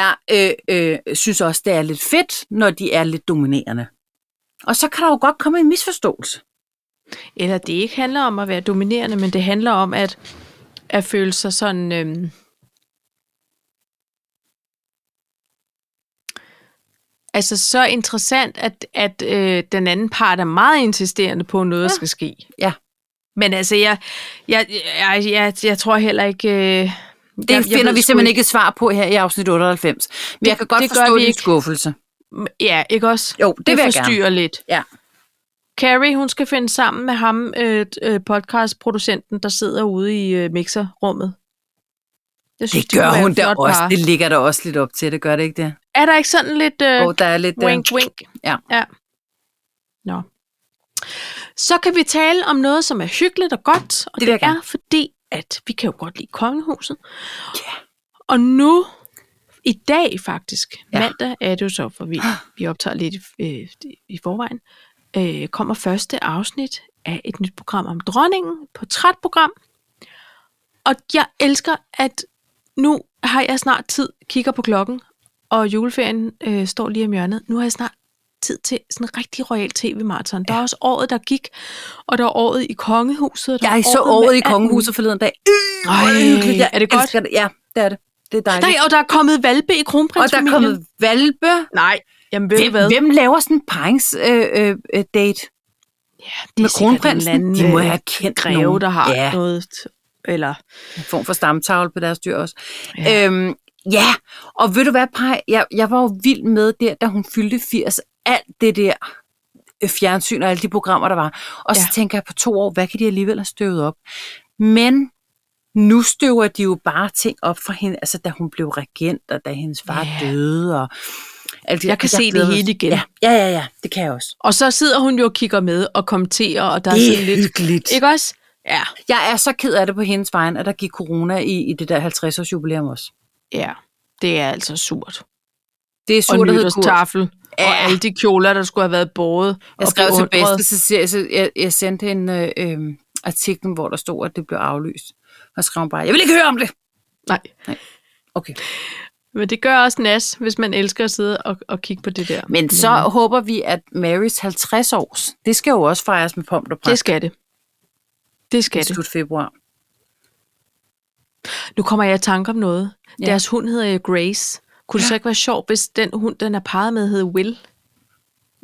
Speaker 1: er, øh, øh, synes også, det er lidt fedt, når de er lidt dominerende. Og så kan der jo godt komme en misforståelse.
Speaker 2: Eller det ikke handler om at være dominerende, men det handler om at, at føle sig sådan... Øhm, altså så interessant, at, at øh, den anden part er meget insisterende på, at noget ja. skal ske.
Speaker 1: Ja.
Speaker 2: Men altså, jeg, jeg, jeg, jeg, jeg tror heller ikke... Øh, det
Speaker 1: Det jeg, finder jeg vi simpelthen ikke et svar på her i afsnit 98. Men det, jeg kan godt
Speaker 2: det gør
Speaker 1: forstå
Speaker 2: vi
Speaker 1: din
Speaker 2: ikke.
Speaker 1: skuffelse.
Speaker 2: Ja, ikke også?
Speaker 1: Jo, det vil jeg gerne.
Speaker 2: forstyrrer lidt.
Speaker 1: Ja.
Speaker 2: Carrie, hun skal finde sammen med ham, øh, t- øh, podcastproducenten, der sidder ude i øh, mixerrummet. Jeg
Speaker 1: Det
Speaker 2: kunne
Speaker 1: gør
Speaker 2: være
Speaker 1: hun
Speaker 2: et
Speaker 1: da
Speaker 2: flot
Speaker 1: også.
Speaker 2: par.
Speaker 1: Det ligger der også lidt op til, det gør det ikke det?
Speaker 2: Er der ikke sådan lidt øh,
Speaker 1: Og der er lidt... øh,
Speaker 2: wink, wink?
Speaker 1: Ja.
Speaker 2: ja. Nå. Så kan vi tale om noget, som er hyggeligt og godt, og
Speaker 1: Det vil
Speaker 2: det,
Speaker 1: jeg
Speaker 2: det
Speaker 1: gerne.
Speaker 2: er fordi, at vi kan jo godt lide kongehuset. Og nu, i dag faktisk,
Speaker 1: Ja.
Speaker 2: ja. mandag er det jo så, for
Speaker 1: <gasps>
Speaker 2: vi, vi optager lidt øh, i forvejen, øh, kommer første afsnit af et nyt program om dronningen, portrætprogram. Og jeg elsker, at nu har jeg snart tid, kigger på klokken, og juleferien øh, står lige om hjørnet. Nu har jeg snart tid til sådan en rigtig royal tv-marathon. Der er også året, der gik, og der er året i kongehuset. og Der
Speaker 1: Jeg
Speaker 2: er
Speaker 1: så året
Speaker 2: med
Speaker 1: i
Speaker 2: alt
Speaker 1: kongehuset forleden dag. Øh, hvor
Speaker 2: Ej,
Speaker 1: hyggeligt. jeg
Speaker 2: er det godt?
Speaker 1: elsker Det. Ja, det er det. Det er
Speaker 2: muligt.
Speaker 1: dejligt.
Speaker 2: Nej, og der er kommet valpe
Speaker 1: og
Speaker 2: i
Speaker 1: der er
Speaker 2: kronprinsfamilien.
Speaker 1: kommet valpe.
Speaker 2: Nej, jamen ved du
Speaker 1: Hvem,
Speaker 2: hvad?
Speaker 1: hvem laver sådan en parringsdate øh, øh, date
Speaker 2: Ja, det
Speaker 1: med
Speaker 2: er sikkert en eller
Speaker 1: kronprinsen?
Speaker 2: anden,
Speaker 1: De må
Speaker 2: øh,
Speaker 1: have kendt
Speaker 2: greve,
Speaker 1: nogen.
Speaker 2: der har
Speaker 1: ja,
Speaker 2: ja. noget, t- eller
Speaker 1: en form for stamtavle på deres dyr også.
Speaker 2: Ja.
Speaker 1: Ja, øhm, ja. og ved du hvad, Paj? Jeg, jeg var jo vild med der, da hun fyldte 80. Alt det der øh, fjernsyn og alle de programmer, der var. Og ja. så
Speaker 2: Ja.
Speaker 1: tænker jeg på to år, hvad kan de alligevel have støvet op? Men nu støver de jo bare ting op for hende, altså da hun blev regent, og da hendes far
Speaker 2: Ja.
Speaker 1: ja. døde. Og alt
Speaker 2: Jeg kan se det
Speaker 1: glæder mig-
Speaker 2: hele igen.
Speaker 1: Ja. ja, ja, ja, det kan jeg også.
Speaker 2: Og så sidder hun jo og kigger med og kommenterer, og der er
Speaker 1: Det
Speaker 2: sådan
Speaker 1: er
Speaker 2: lidt...
Speaker 1: hyggeligt.
Speaker 2: Ikke også? Ja,
Speaker 1: Jeg er så ked af det på hendes vejen, at der gik corona i, i det der 50-års jubilæum også.
Speaker 2: ja. Det er altså surt.
Speaker 1: Det er
Speaker 2: og
Speaker 1: surt, at
Speaker 2: nytårstafel. Ja.
Speaker 1: Ja.
Speaker 2: Og alle de kjoler, der skulle have været båret.
Speaker 1: Jeg
Speaker 2: og
Speaker 1: skrev til
Speaker 2: beundret.
Speaker 1: bedste, så siger jeg, så jeg, jeg sendte en øh, øh, artikel, hvor der stod, at det blev aflyst. Og skrev hun bare, jeg vil ikke høre om det!
Speaker 2: Nej,
Speaker 1: Okay.
Speaker 2: men det gør også nas, hvis man elsker at sidde og, og kigge på det der.
Speaker 1: Men så mm. håber vi, at Marys 50 års, det skal jo også fejres med pomp og
Speaker 2: Det
Speaker 1: præst
Speaker 2: skal det. Det
Speaker 1: i
Speaker 2: skal det.
Speaker 1: slut februar.
Speaker 2: Nu kommer jeg i tanke om noget.
Speaker 1: Ja.
Speaker 2: Ja. Deres hund hedder jo Grace. Kunne det så ikke være sjovt, hvis den hund, den er parret med, hedder Will?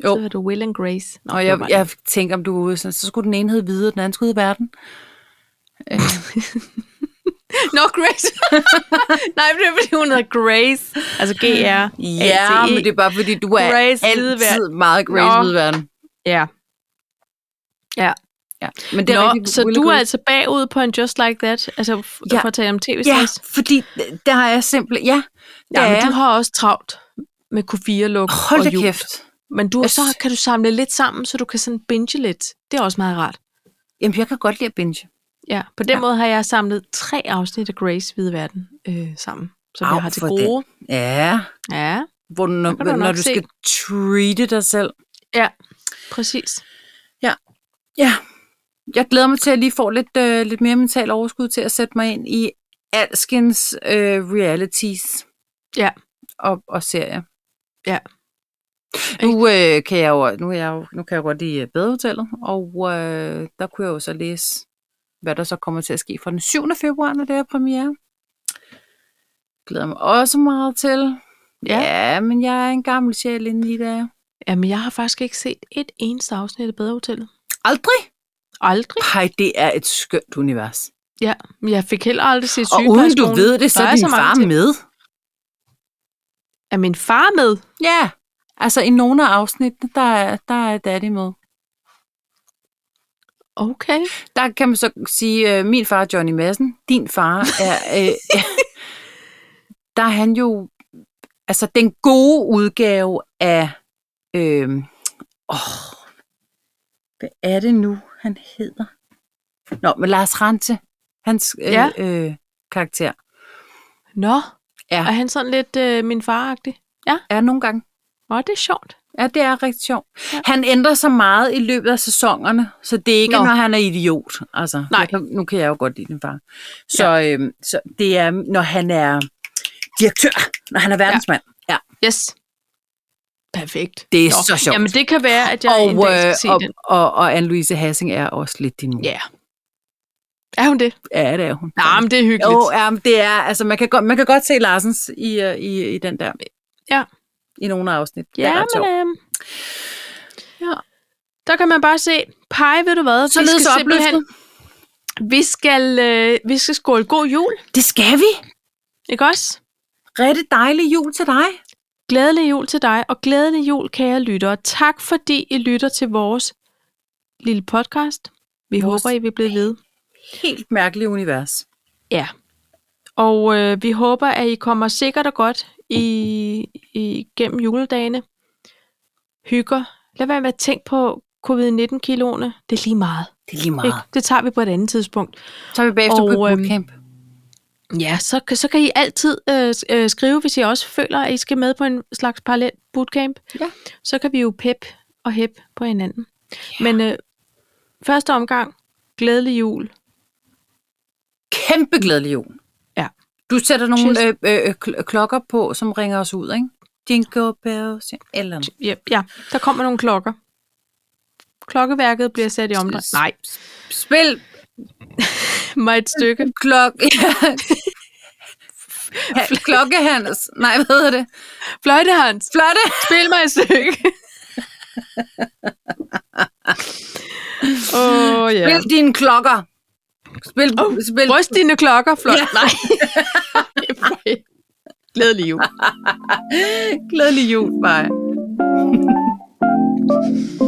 Speaker 1: Jo.
Speaker 2: Så er du Will and Grace. Nå,
Speaker 1: Og
Speaker 2: det var
Speaker 1: jeg,
Speaker 2: mig.
Speaker 1: jeg tænker, om du er ude, så, så skulle den ene hedde Hvide, og den anden skulle hedde Verden.
Speaker 2: Nå, Grace. <laughs> Nej, men det er, fordi hun hedder Grace. Altså G-R.
Speaker 1: Ja, men det er bare, fordi du er
Speaker 2: Grace Hvide
Speaker 1: altid
Speaker 2: Verden.
Speaker 1: meget Grace
Speaker 2: Nå.
Speaker 1: Hvide Verden.
Speaker 2: Ja. Ja.
Speaker 1: Ja. Men det er
Speaker 2: Nå,
Speaker 1: rigtigt,
Speaker 2: så
Speaker 1: Will
Speaker 2: du er
Speaker 1: Grace.
Speaker 2: altså bagud på en Just Like That, altså f-
Speaker 1: Ja.
Speaker 2: for at tale om tv
Speaker 1: Ja, fordi øh, der har jeg simpelthen... Ja, der
Speaker 2: ja, men
Speaker 1: er
Speaker 2: du har også travlt med Q4-luk
Speaker 1: Hold da
Speaker 2: og jul.
Speaker 1: kæft.
Speaker 2: Men du,
Speaker 1: Jeg
Speaker 2: så
Speaker 1: sy-
Speaker 2: kan du samle lidt sammen, så du kan sådan binge lidt. Det er også meget rart.
Speaker 1: Jamen, jeg kan godt lide at binge.
Speaker 2: Ja, på den
Speaker 1: Ja.
Speaker 2: ja. måde har jeg samlet tre afsnit af Grace Hvide Verden øh, sammen, som
Speaker 1: Au,
Speaker 2: Au, jeg har til
Speaker 1: for
Speaker 2: gode. Den.
Speaker 1: Ja,
Speaker 2: Ja,
Speaker 1: hvor, når,
Speaker 2: kan du
Speaker 1: når
Speaker 2: nok
Speaker 1: du
Speaker 2: se.
Speaker 1: skal treate dig selv.
Speaker 2: præcis.
Speaker 1: Ja, jeg glæder mig til, at jeg lige får lidt, øh, lidt mere mental overskud til at sætte mig ind i alskens øh, realities
Speaker 2: Ja.
Speaker 1: og, og serier.
Speaker 2: Ja.
Speaker 1: Nu, øh, kan jeg jo, nu, er jeg jo, nu kan jeg jo godt lide øh, badehotellet, og øh, der kunne jeg jo så læse, hvad der så kommer til at ske fra den 7. februar, når det er premiere. Glæder mig også meget til.
Speaker 2: Ja.
Speaker 1: ja men jeg er en gammel sjæl inde i det.
Speaker 2: Jamen, jeg har faktisk ikke set et eneste afsnit af Badehotellet.
Speaker 1: Aldrig?
Speaker 2: Aldrig.
Speaker 1: Hej, det er et skønt univers.
Speaker 2: Ja, men jeg fik heller aldrig set
Speaker 1: Og uden du
Speaker 2: sygeplejerskolen.
Speaker 1: ved det, så
Speaker 2: Der
Speaker 1: er din
Speaker 2: mange
Speaker 1: far
Speaker 2: ting.
Speaker 1: med.
Speaker 2: Er min far med?
Speaker 1: Ja, altså i nogle af afsnittene, der er, der er daddy med.
Speaker 2: Okay.
Speaker 1: Der kan man så sige, øh, min far er Johnny Madsen, din far er... <laughs> Øh, der er han jo... Altså den gode udgave af... Øh, åh, hvad er det nu, han hedder? Nå, men Lars Rante, hans øh,
Speaker 2: Ja.
Speaker 1: ja. øh, karakter,
Speaker 2: Nå,
Speaker 1: Ja.
Speaker 2: er han sådan lidt øh, min far-agtig?
Speaker 1: er nogle gange
Speaker 2: Nå, det er sjovt.
Speaker 1: Ja, det er rigtig sjovt. Ja. Han ændrer sig meget i løbet af sæsonerne, så det er ikke, Nå.
Speaker 2: Nå.
Speaker 1: når han er idiot. Altså,
Speaker 2: Nej.
Speaker 1: Nu, kan- nu kan jeg jo godt lide den far. Så, ja. øhm, så det er, når han er direktør, når han er verdensmand. Ja. ja.
Speaker 2: Yes. Perfekt.
Speaker 1: Det er så sjovt.
Speaker 2: Jamen, det kan være, at jeg og, en
Speaker 1: Og,
Speaker 2: dag
Speaker 1: øh,
Speaker 2: skal se
Speaker 1: og,
Speaker 2: den.
Speaker 1: og, og Anne-Louise Hassing er også lidt din mor.
Speaker 2: Ja. Er hun det?
Speaker 1: ja det er hun.
Speaker 2: Nej, men det er hyggeligt.
Speaker 1: jo, ja, men det er, altså, man kan, godt, man kan godt se Larsens i, øh, i, i den der.
Speaker 2: Ja.
Speaker 1: I nogle afsnit. Det er
Speaker 2: ja,
Speaker 1: ret sjovt.
Speaker 2: men... øhm, ja. Der kan man bare se, pege, ved du hvad?
Speaker 1: Således
Speaker 2: vi skal simpelthen-
Speaker 1: opløftet.
Speaker 2: Vi skal, øh, vi skal skåle god jul,
Speaker 1: Det skal vi.
Speaker 2: ikke også?
Speaker 1: Rigtig dejlig jul til dig.
Speaker 2: Glædelig jul til dig, og glædelig jul, kære lyttere. Tak fordi I lytter til vores lille podcast. Vi
Speaker 1: Vores-
Speaker 2: håber, I vil blive ved.
Speaker 1: Helt mærkeligt univers.
Speaker 2: Ja. Og øh, vi håber, at I kommer sikkert og godt i, i, gennem juledagene. Hygger. Lad være med at tænke på covid-19-kiloene. Det er lige meget.
Speaker 1: Det er lige
Speaker 2: Ikke?
Speaker 1: meget.
Speaker 2: Det tager vi på et andet tidspunkt.
Speaker 1: Så er vi bagefter
Speaker 2: Og,
Speaker 1: og, på et
Speaker 2: øhm,
Speaker 1: bootcamp. Øhm,
Speaker 2: Ja, så, kan- så kan I altid øh, s- øh, skrive, hvis I også føler, at I skal med på en slags parallel bootcamp.
Speaker 1: Ja.
Speaker 2: Så kan vi jo pep og hæp på hinanden. Ja. Men øh, første omgang, glædelig jul.
Speaker 1: Kæmpe glædelig jul.
Speaker 2: Ja.
Speaker 1: Du sætter nogle
Speaker 2: Tjus.
Speaker 1: øh, øh, kl- klokker på, som ringer os ud, ikke? Jingle bells, ja, eller noget.
Speaker 2: Ja, ja, der kommer nogle klokker. Klokkeværket bliver sat i omdrej. Nej,
Speaker 1: Spil
Speaker 2: mig et stykke.
Speaker 1: klok... <laughs> Ja. Klokkehans. Nej, hvad hedder det?
Speaker 2: Fløjte, Hans.
Speaker 1: Flotte!
Speaker 2: Spil mig et
Speaker 1: <laughs>
Speaker 2: stykke. Åh, oh, ja.
Speaker 1: Spil dine klokker. Spil,
Speaker 2: Oh,
Speaker 1: oh, spil
Speaker 2: Ryst dine klokker, Fløjte.
Speaker 1: Ja.
Speaker 2: Ja.
Speaker 1: <laughs>
Speaker 2: Nej. <laughs> Glædelig jul.
Speaker 1: glædelig jul, bare.